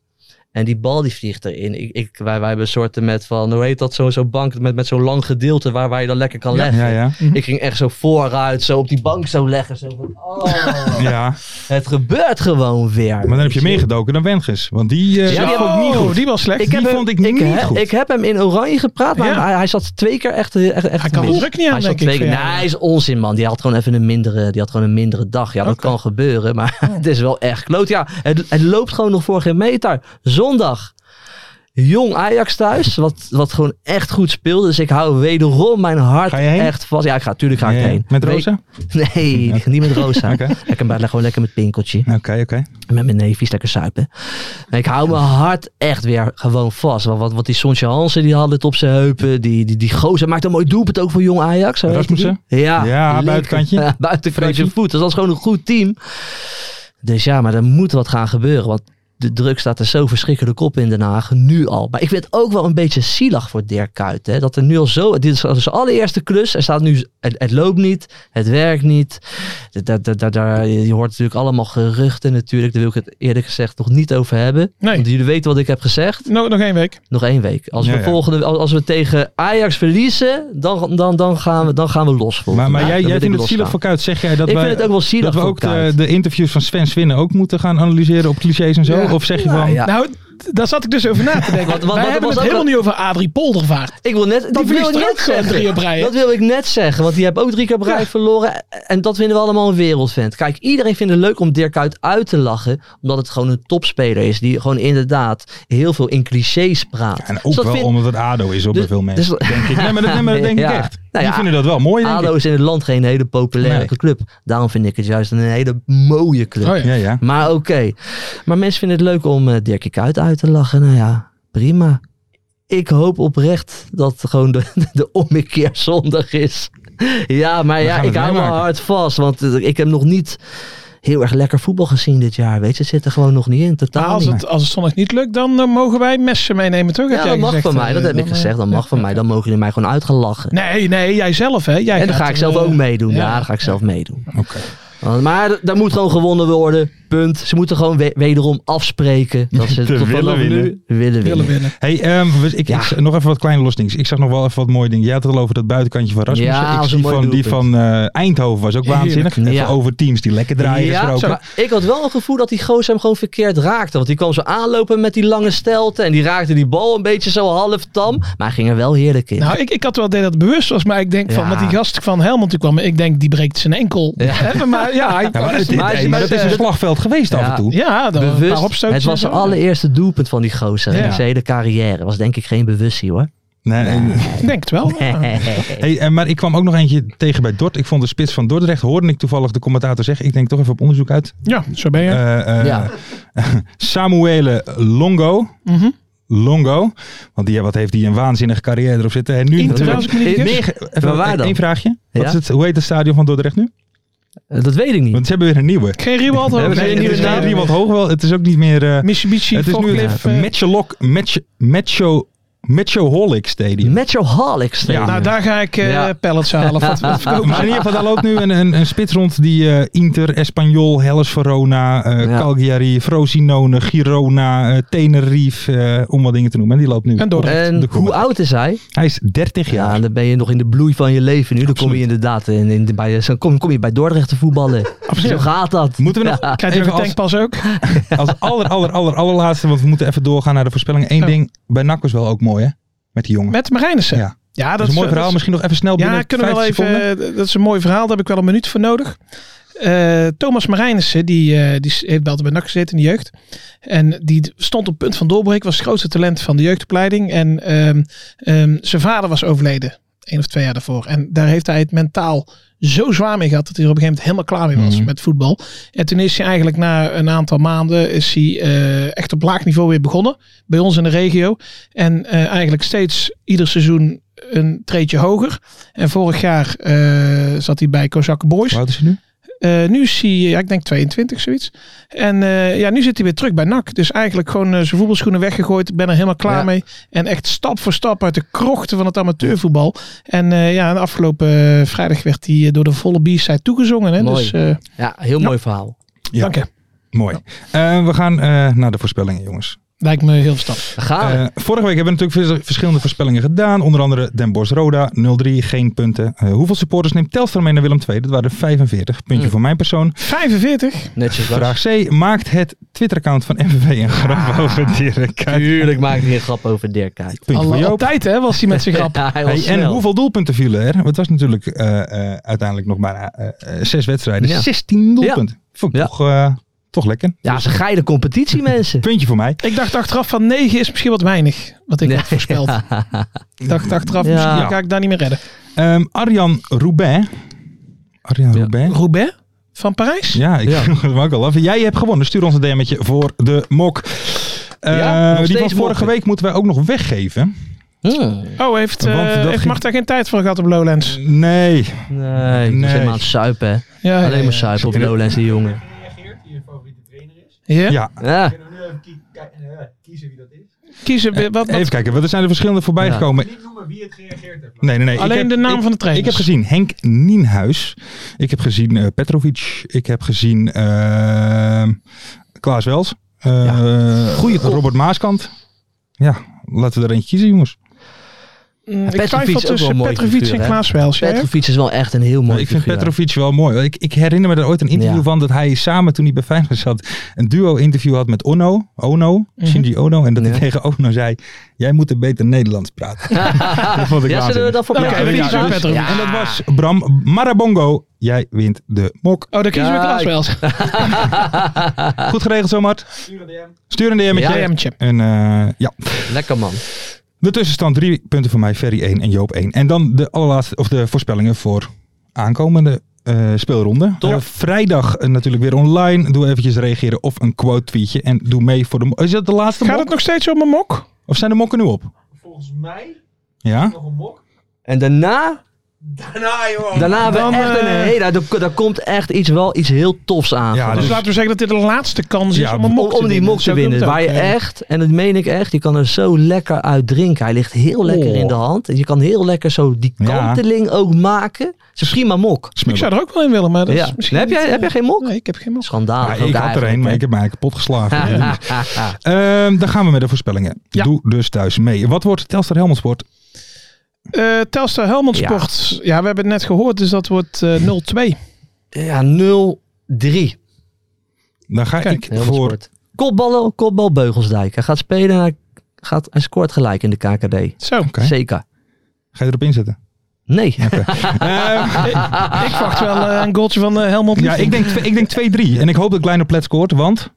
F: En die bal die vliegt erin. Ik, ik, wij, wij hebben een soorten met van, hoe heet dat, zo'n zo bank met, met zo'n lang gedeelte waar, waar je dan lekker kan
D: Ja,
F: leggen.
D: ja, ja.
F: Ik ging echt zo vooruit, zo op die bank zo leggen. Zo van, oh,
D: Ja.
F: het gebeurt gewoon weer.
D: Maar dan heb je meegedoken dan Wenges. Want die, eh
F: Ja,
D: die
F: die
D: vond ik
F: heb-
D: niet
E: Oh,
D: goed.
E: die was slecht.
F: Ik heb
D: die
F: hem-
D: vond ik niet
F: he-
D: goed.
F: Ik heb hem in oranje gepraat, maar
E: Ja.
F: hij, hij zat twee keer echt... eh, echt, echt
E: Hij kan de
F: mis.
E: druk niet aan,
F: Hij zat
E: denk ik,
F: twee keer-
E: voor
F: Nee,
E: jou.
F: hij is onzin, man. Die had gewoon even een mindere, die had gewoon een mindere dag. Ja, dat kan gebeuren, maar het is wel echt kloot. Ja, het, het loopt gewoon nog voor geen meter. Zondag. Jong Ajax thuis, wat, wat gewoon echt goed speelde. Dus ik hou wederom mijn hart
D: Ga je heen?
F: echt vast. Ja, ik ga, tuurlijk ga ik
D: Ja,
F: heen.
D: Met
F: Weet-
D: Rosa?
F: Nee, ik ga niet met Rosa.
D: Oké.
F: Lekker, maar lekker- lekker met Pinkeltje.
D: Oké, oké.
F: Met mijn neefjes lekker suipen. Maar ik hou mijn hart echt weer gewoon vast. Want, want, want die Sontje Hansen die had het op zijn heupen. Die, die, die gozer maakt een mooi doelpunt ook voor jong Ajax. Zo heet
D: Rasmussen?
F: die. Ja,
D: Ja,
F: lekker.
D: buitenkantje.
F: Ja, buitenkantje
D: Freekie.
F: voet. Dus dat is gewoon een goed team. Dus ja, maar er moet wat gaan gebeuren. Want de druk staat er zo verschrikkelijk op in Den Haag. Nu al. Maar ik vind het ook wel een beetje zielig voor Dirk Kuyt. Hè? Dat er nu al zo... Dit is zijn allereerste klus. Er staat nu... Het, het loopt niet. Het werkt niet. Daar, daar, daar, daar- je hoort natuurlijk allemaal geruchten natuurlijk. Daar wil ik het eerlijk gezegd nog niet over hebben.
E: Nee.
F: Want jullie weten wat ik heb gezegd.
E: No- nog één week.
F: Nog één week. Als,
D: Ja,
F: we,
D: ja.
F: Volgende, als, als we tegen Ajax verliezen, dan, dan, dan, gaan, we, dan gaan we los. volgende
D: Maar, maar
F: week.
D: jij,
F: Dan
D: jij
F: wil
D: vindt het
F: ik losgaan.
D: zielig voor Kuit. Zeg jij dat
F: Ik
D: wij-
F: vind het ook wel zielig
D: dat we
F: voor
D: ook eh, de,
F: Kuit.
D: de interviews van Sven Swinnen ook moeten gaan analyseren op clichés en zo?
E: Ja.
D: Of zeg je van...
F: Nou ja.
E: Nou, d- daar zat ik dus over na te denken.
F: Want- want- want
E: Wij
F: er
E: hebben
F: was
E: het
F: ook
E: helemaal
F: wel-
E: niet over Adrie Poldervaart.
F: Ik wil net, dat wil
E: verliest
F: ik
E: er
F: net
E: ook gewoon
F: zeggen.
E: drie op rij, hè?
F: dat wil ik net zeggen, want die hebben ook drie keer op rij
E: Ja.
F: verloren. En dat vinden we allemaal een wereldvent. Kijk, iedereen vindt het leuk om Dirk Kuyt uit te lachen, omdat het gewoon een topspeler is. Die gewoon inderdaad heel veel in clichés praat.
D: En
F: Dus
D: ook
F: dat
D: wel
F: vind-
D: omdat het ADO is op
F: Dus-
D: bij veel mensen,
F: dus-
D: denk ik. Nee, maar dat, nee, maar dat denk ik
F: Ja.
D: echt.
F: Nou
D: Die
F: ja,
D: vinden dat wel mooi, denk
F: ADO
D: ik.
F: is in het land geen hele populaire
D: Nee.
F: club. Daarom vind ik het juist een hele mooie club.
E: Oh ja.
D: Ja, ja.
F: Maar oké. Maar mensen vinden het leuk om eh Dirkie Kuyt uit te lachen. Nou ja, prima. Ik hoop oprecht dat gewoon de, de ommekeer zondag is. Ja, maar ja,
D: gaan het
F: ik hou me
D: meemaken.
F: hard vast. Want eh, ik heb nog niet heel erg lekker voetbal gezien dit jaar. Weet je, het zit er gewoon nog niet in.
E: Maar
F: Totaal
E: als
F: niet.
E: het, als het zondag niet lukt, dan eh, mogen wij messen meenemen, toch? Heb
F: Ja,
E: jij
F: dat mag
E: gezegd,
F: van
E: eh,
F: mij. Dat heb ik
E: dan, eh,
F: gezegd. Dat mag van mij. Dan mogen jullie mij gewoon uitgelachen.
E: Nee, nee, jij zelf, hè? Jij
F: en dan
E: gaat
F: ga ik
E: er,
F: zelf
E: eh,
F: ook meedoen. Ja,
E: ja.
F: dan ga ik zelf meedoen.
D: Oké.
F: Want- Maar d- daar moet gewoon gewonnen worden. Punt. Ze moeten gewoon we- wederom afspreken dat ze
D: Te
F: tot
D: willen
F: vanaf
D: winnen.
F: nu willen
E: willen
F: winnen.
E: winnen.
D: Hey, ehm, we- ik, ik- nog even wat kleine losdings. Ik zag nog wel even wat mooie dingen. Jij had het al over dat buitenkantje van Rasmussen.
F: Ja, dat
D: ik
F: was een
D: zie
F: mooi
D: van die
F: doelpunt.
D: van eh, Eindhoven was ook waanzinnig.
F: Heerlijk.
D: Even
F: Ja.
D: over teams die lekker draaien
F: Ja,
D: gesproken.
F: maar ik had wel een gevoel dat die gozer hem gewoon verkeerd raakte. Want die kwam zo aanlopen met die lange stelte. En die raakte die bal een beetje zo half tam. Maar hij ging er wel heerlijk in.
E: Nou, ik, ik had wel het idee dat het bewust was, maar ik denk van,
F: Ja.
E: met die gast van Helmond die kwam, ik denk die breekt zijn enkel.
F: Ja.
E: Hè, Maar ja, hij
D: Ja, maar het-
F: Maar
D: hey,
F: is-
D: maar dat is een
F: eh,
D: slagveld geweest af
F: ja.
D: en toe.
E: ja, dan een paar
F: bewust.
E: opstootjes
F: Het was
E: en
F: zijn
E: zo.
F: allereerste doelpunt van die gozer.
D: Ja.
F: In zijn hele carrière. Was denk ik geen bewustzijn hoor.
D: Nee, en-
E: Ik denk het wel.
D: Hey, eh, maar ik kwam ook nog eentje tegen bij Dort. Ik vond de spits van Dordrecht, hoorde ik toevallig de commentator zeggen. Ik denk toch even op onderzoek uit.
E: Ja, zo ben je.
D: Eh, eh,
F: Ja.
D: Samuele Longo.
E: Mhm.
D: Longo. Want die, wat heeft hij een waanzinnige carrière erop zitten. En nu
E: In
D: natuurlijk-
E: 2000 minuten.
D: Negen-
F: Waar
D: Even
F: waar dan?
D: één vraagje. Wat
F: Ja?
D: is het, hoe heet het stadion van Dordrecht nu?
F: Eh, Dat weet ik niet.
D: Want ze hebben weer een nieuwe.
E: Geen Riewald
F: We
E: ook.
F: hebben
E: Oh, Nee,
F: geen
E: het is
F: nieuwe
D: Geen
F: naam.
E: geen
D: Riewald Hoogwel. Het is ook niet meer... eh,
E: Mitsubishi,
D: het is nu
E: Forklift, eh,
D: Matchalok, Match, Matcho, Matchoholic Stadium.
F: Metroholic Stadium.
E: nou, daar ga ik eh,
F: Ja.
E: pallets halen. of Wat, wat verkopen
D: Ah, maar in
E: ze?
D: ieder geval, daar loopt nu een, een, een spits rond die eh, Inter, Espanyol, Hellas Verona, eh,
F: Ja.
D: Cagliari, Frosinone, Girona, eh, Tenerife, eh, om wat dingen te noemen. En die loopt nu.
E: En Dordrecht.
D: op de
F: En hoe
D: comeback.
F: oud is hij?
D: Hij is 30 jaar.
F: Ja, dan ben je nog in de bloei van je leven nu. Dan kom je inderdaad in, in, bij, eh, zo kom, kom je bij Dordrecht te voetballen. Zo gaat dat.
D: Moeten we nog
E: Krijg je
D: even
E: nog een
D: als,
E: tankpas ook?
D: als aller, aller, aller, allerlaatste, want we moeten even doorgaan naar de voorspelling. Eén
E: Oh.
D: ding, bij NAC was wel ook mooi hè, met die jongen.
E: Met Marijnissen.
D: Ja.
E: ja
D: dat is een mooi verhaal.
E: dat is-
D: Misschien nog even snel binnen
E: Ja, kunnen we wel
D: 50
E: even.
D: seconden.
E: eh, Dat is een mooi verhaal. Daar heb ik wel een minuut voor nodig. Eh, Thomas Marijnissen, die, eh, die heeft bij altijd bij NAC gezeten in de jeugd. En die stond op het punt van doorbreken. Was het grootste talent van de jeugdopleiding. En ehm, ehm, zijn vader was overleden. één of twee jaar daarvoor. En daar heeft hij het mentaal zo zwaar mee gehad. Dat hij er op een gegeven moment helemaal klaar mee was
D: Mhm.
E: met voetbal. En toen is hij eigenlijk na een aantal maanden. Is hij eh, echt op laag niveau weer begonnen. Bij ons in de regio. En eh, eigenlijk steeds ieder seizoen een treetje hoger. En vorig jaar eh, zat hij bij Kozakke Boys.
D: Hoe oud is hij nu?
E: Eh, nu zie je, ja, ik denk 22 zoiets. En eh, ja, nu zit hij weer terug bij NAC. Dus eigenlijk gewoon eh, zijn voetbalschoenen weggegooid. Ben er helemaal klaar
F: Ja.
E: mee. En echt stap voor stap uit de krochten van het amateurvoetbal. En eh, ja, de afgelopen eh, vrijdag werd hij eh, door de volle B-side toegezongen. Hè?
F: Mooi.
E: Dus eh
D: Nou.
F: Ja, heel mooi verhaal.
D: Ja.
E: dank je.
D: Mooi. Eh, we gaan eh, naar de voorspellingen, jongens.
E: Lijkt me heel verstandig.
F: Gaan we.
D: Eh, vorige week hebben we natuurlijk vers- verschillende voorspellingen gedaan. Onder andere Den Bosch Roda, 0-3, geen punten. Eh, hoeveel supporters neemt Telstar mee naar Willem II? Dat waren 45. Puntje
F: Mm.
D: voor mijn persoon.
E: 45?
F: Netjes Lars.
D: Vraag C. Maakt het Twitter-account van MVV een grap over Dirk Kuyt?
F: Ah. Tuurlijk maak ik geen grap over Dirk Kuyt.
D: Puntje voor
E: Al,
D: Joop.
E: altijd hè, was hij met zijn grap.
F: Ja, hij was
D: Hey, en
F: snel.
D: hoeveel doelpunten vielen er? Want het was natuurlijk eh, eh, uiteindelijk nog maar eh, eh, zes wedstrijden.
F: Ja.
D: 16 doelpunten. Vond ik
F: Ja.
D: toch, eh, toch lekker.
F: Ja, ze geile competitie, mensen.
D: Puntje voor mij.
E: Ik dacht achteraf van 9 is misschien wat weinig. Wat ik
F: Nee.
E: had voorspeld. Ik dacht achteraf,
F: Ja.
E: misschien ga ik daar niet meer redden.
D: Ehm, Arjan Roubaix. Arjan
F: Ja.
D: Roubaix.
E: Roubaix van Parijs?
D: Ja, ik
F: Ja.
D: vroeg het me ook al af. Jij hebt gewonnen. Stuur ons een DM'tje voor de mok. Eh,
F: Ja, nog
D: die van
F: steeds
D: vorige
F: mokken.
D: week moeten wij ook nog weggeven.
E: Oh, heeft, eh
D: Want dat
E: heeft
D: ging-
E: Marta geen tijd voor gehad op Lowlands?
D: Nee.
F: Nee, ik
D: Nee.
F: was helemaal aan het suipen. hè.
E: Ja,
F: Alleen maar
E: ja.
F: suipen op Lowlands, die jongen.
E: Ja?
D: Ja.
F: Ja.
E: Kiezen, we- wat, wat,
D: Even kijken, want er zijn er verschillende voorbij
F: Ja.
D: gekomen. Niet noemen wie het gereageerd heeft. Nee, nee, nee.
E: Alleen
D: ik heb,
E: de naam
D: ik-
E: van de trainers.
D: Ik heb gezien Henk Nienhuis. Ik heb gezien eh, Petrovic. Ik heb gezien ehm, Klaas Wels. Eh,
F: Goeie kop.
D: Robert Maaskant. Ja, laten we er eentje kiezen, jongens.
E: mm, ik
F: Petrovic is
E: twijfel
F: ook wel
E: tussen
F: een mooie
E: Petrovic
F: figuur,
E: en
F: hè?
E: Klaas Wels. jij?
F: Petrovic is wel echt een heel mooi
D: ik vind
F: figuur.
D: Petrovic wel mooi. Ik, ik herinner me er ooit een interview
F: Ja.
D: van dat hij samen toen hij bij Feyenoord zat een duo-interview had met Ono, Ono, Shinji Ono, en dat
F: Mhm. Ja.
D: hij tegen Ono zei: "Jij moet er beter Nederlands praten." dat vond ik
F: Ja, zullen we
D: waanzinnig. Nou,
F: dat voor
E: Oké,
F: Petrovic
E: wie is
F: doen?
E: daar Petrovic?
F: Ja.
D: En dat was Bram Marabongo. Jij wint de mok.
E: Oh, dan kiezen we Klaas
F: Kijk.
E: Wels.
D: Goed geregeld zo, Mart. Stuur een DM'tje.
F: Ah. Ja.
E: DM'tje.
D: En eh, ja,
F: Lekker man.
D: de tussenstand drie punten voor mij, Ferry 1 en Joop 1. En dan de allerlaatste, of de voorspellingen voor aankomende eh, speelronde. Eh, vrijdag eh, natuurlijk weer online. Doe eventjes reageren of een quote tweetje en doe mee voor de mo- Is dat de laatste
E: Gaat
D: mok?
E: het nog steeds om een mok?
D: Of zijn de mokken nu op? Volgens mij. Ja?
F: En daarna... Daarna hebben we
E: Dan,
F: echt een...
E: eh,
F: Hey, daar, daar komt echt iets, wel iets heel tofs aan.
D: Ja, dus
F: voor
E: Dus
F: ons.
E: laten we zeggen dat dit de laatste kans is
D: Ja,
E: om een mok
F: om,
E: te
F: om die
E: winnen.
F: mok te
E: Zo komt
F: winnen.
E: het
F: Waar je
E: ook.
F: echt, en dat meen ik echt, je kan er zo lekker uit drinken. Hij ligt heel lekker in de hand. Je kan heel lekker zo die
D: Oh. Ja.
F: kanteling ook maken. Het is een prima mok.
E: Ik zou er ook wel in willen, maar dat
F: Ja.
E: is misschien
F: Heb jij-
E: niet,
F: heb jij
E: eh,
F: geen mok?
E: Nee, ik heb geen mok.
D: Ja,
F: Schandalig. ook
D: Ah, ik had er
F: eigenlijk,
D: één, maar
F: hè.
D: ik heb mij eigenlijk kapot geslagen.
F: Ja.
D: Ehm, dan gaan we met de voorspellingen.
E: Ja.
D: Doe dus thuis mee. Wat wordt Telstar Helmondsport?
E: Eh Telstar Helmond
F: Ja.
E: Sport. Ja. we hebben het net gehoord, dus dat wordt eh, 0-2.
F: Ja, 0-3.
D: Dan ga
E: Kijk,
D: ik voor
F: Voor... Kopballen, kopbal Beugelsdijk. Hij gaat spelen en hij, gaat, hij scoort gelijk in de KKD.
E: Zo.
D: Oké.
F: Zeker.
D: Ga je erop inzetten?
F: Nee.
E: Eh, ik, ik verwacht wel eh, een goaltje van eh, Helmond
D: Ja,
E: Liefde.
D: ik denk, twe- ik denk 2-3. En ik hoop dat Kleiner Plet scoort, want...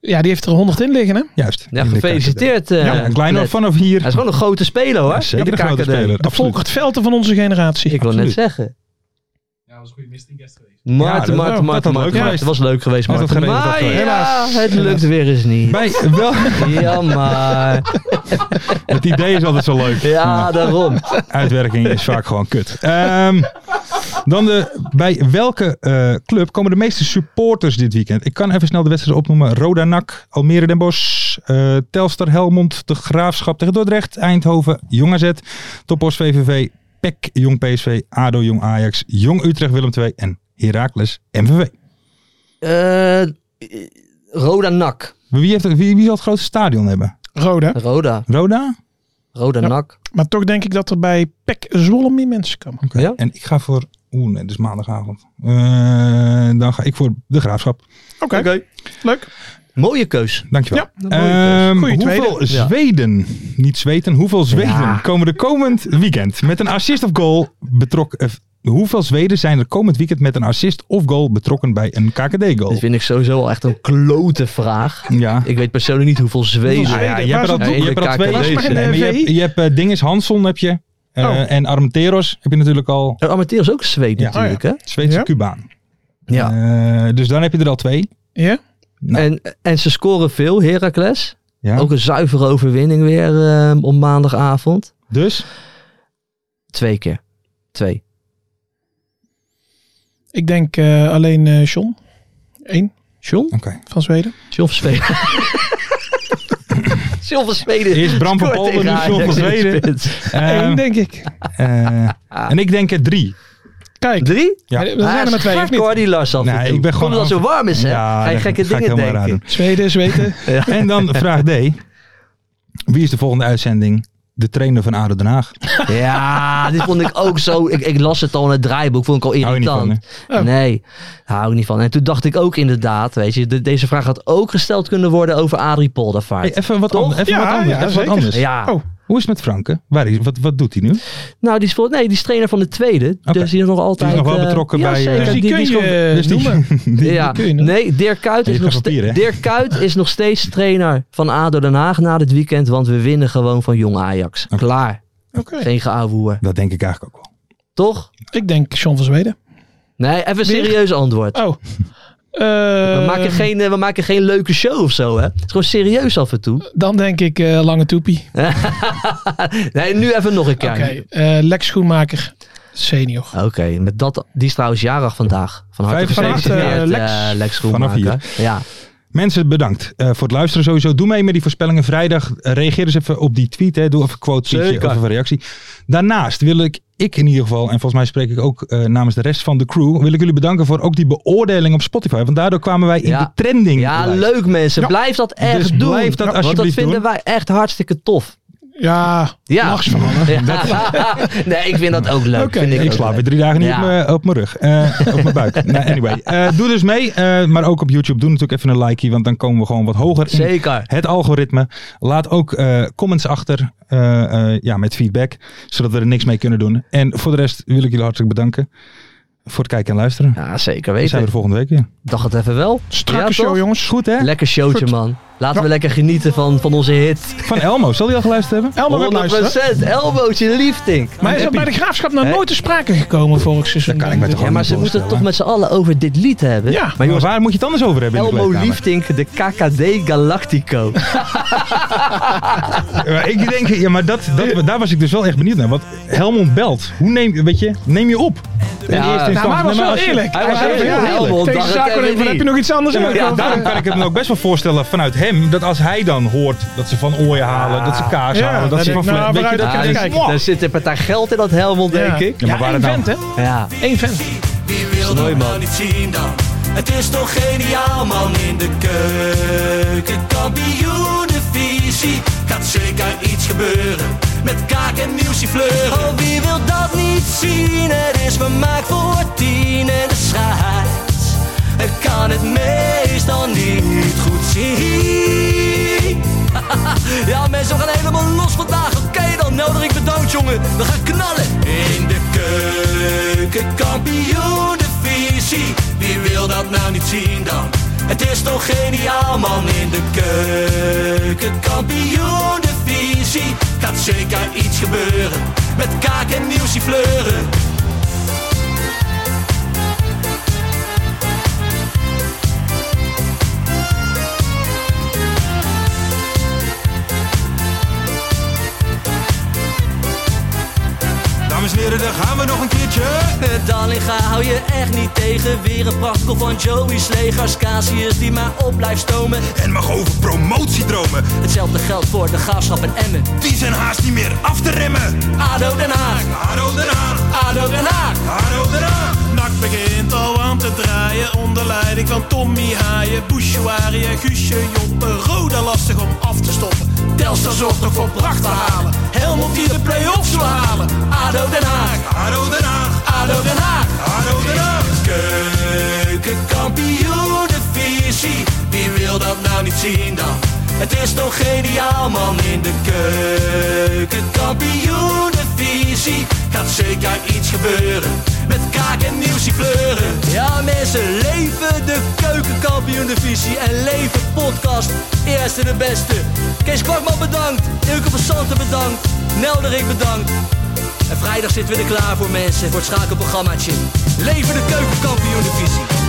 E: Ja, die heeft er 100 in liggen, hè?
D: Juist.
F: Ja,
D: in de
F: gefeliciteerd. eh,
D: KKD. Ja, Kleiner
F: Fred.
D: vanaf hier.
F: Hij is gewoon een grote speler hoor.
D: Ja, zeker
F: in de
D: een grote
F: KKD.
D: speler.
E: De
D: Absoluut.
E: Volkert Velten van onze generatie.
F: Ik wil net
D: Absoluut.
F: zeggen.
D: Ja, dat-
F: Maarten,
D: dat-
F: Maarten,
D: dat had leuk
F: Maarten, Maarten,
D: geweest.
F: Maarten. was leuk geweest,
D: Had het
F: Maarten.
D: geregeld,
F: Maar
D: had het
F: ja,
D: geregeld.
F: het lukt weer eens niet.
D: Bij, wel,
F: Jammer.
D: het idee is altijd zo leuk.
F: Ja, daarom.
D: Uitwerking is vaak gewoon kut. Ehm, dan de, bij welke eh, club komen de meeste supporters dit weekend? Ik kan even snel de wedstrijden opnoemen. Roda NAC, Almere Den Bosch, eh, Telstar Helmond, De Graafschap tegen Dordrecht, Eindhoven, Jong AZ, Topos VVV, PEC, E Jong PSV, ADO, Jong Ajax, Jong Utrecht, Willem II en Heracles MVV.
F: Eh, Roda Nak.
D: Wie, heeft, wie, wie zal het grootste stadion hebben?
E: Roda.
F: Roda.
D: Roda?
F: Roda
E: Ja.
F: Nak.
E: Maar toch denk ik dat er bij Pek Zwolle meer mensen komen.
D: Oké.
F: Ja.
D: En ik ga voor... Oeh, nee, het is maandagavond. Eh, dan ga ik voor De Graafschap.
E: Oké. Leuk.
F: Mooie keus.
D: Dankjewel.
F: Ja, een mooie
D: Ehm,
E: Goeie tweede.
D: hoeveel
F: Ja.
D: Zweden, niet Zweden, hoeveel Zweden
F: Ja.
D: komen er komend weekend met een assist of goal betrokken? eh, hoeveel Zweden zijn er komend weekend met een assist of goal betrokken bij een
F: Dit
D: KKD-goal?
F: vind ik sowieso al echt een klote vraag.
D: Ja.
F: Ik weet persoonlijk niet hoeveel Zweden.
D: Nou ja,
E: Zweden,
D: je
E: waar
D: hebt er al,
E: zat-
D: je hebt er al
F: in de
D: twee.
F: KKD.
D: Nee,
E: Was mijn,
D: maar
E: eh,
D: je hebt,
E: VI?
D: je hebt eh, Dinges Hansson heb je. eh,
E: Oh.
D: En Armenteros heb je natuurlijk al.
F: Oh, Amateur is ook Zweden
D: Ja. Oh,
F: natuurlijk, hè?
D: Zweedse
E: Ja?
D: Cubaan.
F: Ja.
D: Eh, dus dan heb je er al twee.
E: Ja?
D: Nou.
F: En, en ze scoren veel, Heracles.
D: Ja.
F: Ook een zuivere overwinning weer eh, op maandagavond.
D: Dus
F: Twee keer. Twee.
E: Ik denk eh, alleen eh John. Eén
F: John?
D: oké.
E: van Zweden.
F: John van Zweden. John van Zweden.
D: Eerst Bram van
F: scoort
D: Polder,
F: tegen
D: nu John van
F: Ajax in de
D: Zweden.
F: spits.
D: Ehm,
E: Eén, denk ik.
D: eh, en ik denk er drie.
E: Kijk.
F: Drie?
D: Ja.
E: Er zijn
F: Ah,
E: er maar twee, of
F: gek hoor,
E: niet?
F: die Lars af en
D: Nee,
F: toe.
D: ik ben gewoon
F: Komt omdat het zo warm is, hè?
D: Ja,
F: Ga je
D: dat
F: gekke
D: ga ik
F: dingen
D: helemaal raar
F: denken.
D: doen.
E: Zweden, Zweden.
D: En dan vraag D. Wie is de volgende uitzending? De trainer van ADO Den Haag.
F: Ja, dit vond ik ook zo. Ik, ik las het al in het draaiboek, vond ik al
D: Hou je
F: irritant.
D: niet van,
E: hè? Oh.
F: Nee, daar hou ik niet van. En toen dacht ik ook inderdaad, weet je, de- deze vraag had ook gesteld kunnen worden over Adrie Poldervaart.
D: Hey, even wat,
F: Toch?
D: an- even
E: Ja,
D: wat anders.
E: ja,
D: even wat
E: zeker.
D: anders.
F: Ja.
E: Oh,
D: Hoe is het met Franke? Waar is, wat, wat doet hij nu?
F: Nou, die is, vol- nee, die is trainer van de tweede.
D: Oké.
F: Dus die is nog altijd...
D: nog wel
F: eh,
D: betrokken
F: ja,
D: bij, eh,
F: Zeker.
D: Dus
E: die kun
F: is
E: je,
F: gewoon-
E: eh,
D: die-
E: noemen.
D: die-
F: ja.
E: kun je nog.
F: nee, Dirk Kuyt,
D: Ja,
F: is
D: je
F: nog
D: hebt geen
F: ste-
D: papier, hè?
F: Dirk Kuyt is nog steeds trainer van ADO Den Haag na dit weekend. Want we winnen gewoon van Jong Ajax.
D: Oké.
F: Klaar.
E: Oké.
F: Geen geouwehoer.
D: Dat denk ik eigenlijk ook wel.
F: Toch?
E: Ik denk Sean van Zweden.
F: Nee, even een serieus antwoord.
E: Oh.
F: We,
E: Eh,
F: maken geen, eh, we maken geen leuke show of zo, hè? Het is gewoon serieus af en toe.
E: Dan denk ik eh, Lange Toepie.
F: Nee, nu even nog een keer.
E: Oké. eh, Lex Schoenmaker senior.
F: Oké, met dat, die is trouwens jarig vandaag. Van harte
D: Vijf van harte,
F: gefeliciteerd,
E: eh, Lex.
F: eh, Lex
D: Vanaf
F: Groenmaker. Ja.
D: Mensen, bedankt eh, voor het luisteren sowieso. Doe mee met die voorspellingen vrijdag. Eh, reageer eens even op die tweet. Hè. Doe even een quote tweetje
F: Zeker.
D: of even een reactie. Daarnaast wil ik, ik in ieder geval, en volgens mij spreek ik ook eh, namens de rest van de crew, wil ik jullie bedanken voor ook die beoordeling op Spotify. Want daardoor kwamen wij in
F: Ja.
D: de trending.
F: ja,
D: lijst.
F: leuk mensen. Blijf dat echt
D: Dus
F: doen.
D: blijf dat
F: want dat
D: alsjeblieft
F: vinden
D: doen.
F: wij echt hartstikke tof.
E: Ja,
F: Ja.
E: lachs van alle.
F: Ja. nee, ik vind dat ook leuk.
E: Oké,
F: vind ik
D: Ik
F: ook
D: slaap weer
F: leuk.
D: drie dagen niet
F: Ja.
D: op mijn- op mijn rug. eh, op mijn buik. Nou, anyway. Eh, doe dus mee. eh, maar ook op YouTube. Doe natuurlijk even een likeie. Want dan komen we gewoon wat hoger in
F: Zeker.
D: het algoritme. Laat ook eh, comments achter eh, eh, ja, met feedback, zodat we er niks mee kunnen doen. En voor de rest wil ik jullie hartelijk bedanken voor het kijken en luisteren.
F: Ja, zeker
D: we zijn
F: weten.
D: er volgende week weer.
F: Dacht het even wel.
E: Strakke
F: Ja,
E: show,
F: toch?
E: jongens.
D: Goed hè?
F: Lekker showtje,
D: Goed.
F: man. Laten we lekker genieten van, van onze hit. 100%
D: Van Elmo, zal die al geluisterd hebben?
E: Elmer wordt luisteren.
F: elbootje liefding.
E: Maar is dat bij de graafschap nog nooit te sprake gekomen vorig seizoen?
D: kan ik me toch
F: Ja, maar ze
D: Kan
F: moeten het
D: voorstellen.
F: toch met z'n allen over dit lied hebben.
E: Ja.
F: maar
D: Maar
F: jongens,
D: waar moet je het anders over hebben? in de
F: Elmo
D: kleedkamer?
F: Liefdink, de KKD Galactico.
D: Ja, Eh, Ik denk, ja, maar dat, dat, daar was ik dus wel echt benieuwd naar. Want Helmond belt. Hoe neem, weet je, neem je op? In
F: Ja.
D: eerste
E: Nou,
F: Nou,
E: maar
D: instantie.
E: hij was
D: Nee,
E: wel
D: als je-
E: eerlijk.
F: Hij
E: Hij
F: was
E: zei
F: heel
E: van, ja,
F: eerlijk.
E: Helmond,
F: Tegen
E: dacht
F: Zaken
E: ik even,
F: en
E: heb je
F: wie?
E: nog iets anders?
D: Ja, maar
E: aangekomen?
D: daarom kan ik het me ook best wel voorstellen vanuit hem. Dat als hij dan hoort dat ze van ooien halen, dat ze kaas
E: Ja,
D: halen, dat,
E: dat
D: ze
E: ik-
D: van
E: nou,
D: flat- weet je, dat dus-
E: vooruit, dat
D: kan
E: kan
D: je
E: ik
D: denken,
E: kijken.
D: wow.
F: Ah, dus Daar zit een partij geld in dat Helmond, denk ik.
D: Ja, maar waar het
E: één
D: nou-
E: vent, hè?
F: Ja.
E: Eén vent.
B: Wie wil dat nou niet zien dan? Het is toch geniaal man in de keuken. Kampioenenvisie. Gaat zeker iets gebeuren. Met kaak en muziek fleuren. Oh wie wil dat niet zien? Het is vermaakt voor tien en de scheids. Het kan het meestal niet goed zien. Ja, mensen, we gaan helemaal los vandaag. Oké, dan nodig ik bedankt, jongen. We gaan knallen. In de keuken, kampioen, de visie. Wie wil dat nou niet zien dan? Het is toch geniaal, man. In de keuken, kampioen, de visie. Gaat zeker iets gebeuren. Met kaak en nieuwsie fleuren.
C: Dames en heren, daar gaan we nog een keertje.
B: Dallinga Eh, hou je echt niet tegen. Weer een prachtkel van Joey's legers. Casius die maar op blijft stomen.
C: En mag over promotie dromen.
B: Hetzelfde geldt voor de graafschap en Emmen.
C: Die zijn haast niet meer af te remmen.
B: ADO Den Haag,
C: Haro Den Haag,
B: ADO Den Haag.
C: Haro Den Haag.
K: Nak begint al aan te draaien onder leiding van Tommy Haaien, Bouchouari en Guusje Joppen. Roda lastig om af te stoppen. Telstar zorgt nog voor pracht te halen. Helmond die de play-offs wil halen.
B: ADO Den Haag,
C: Haro Den Haag,
B: ADO Den Haag.
C: Haro Den Haag.
B: Keukenkampioenenvisie, wie wil dat nou niet zien dan? Het is toch geniaal man in de keukenkampioenenvisie. Gaat zeker iets gebeuren, met kaak en nieuwsie kleuren. Ja mensen, leven de keukenkampioenenvisie en leven podcast. Eerste de beste. Kees Kwakman bedankt, Ilke van Santen bedankt, Nelderik bedankt. En vrijdag zitten we er klaar voor mensen, voor het schakelprogrammaatje. Leven de keukenkampioen divisie.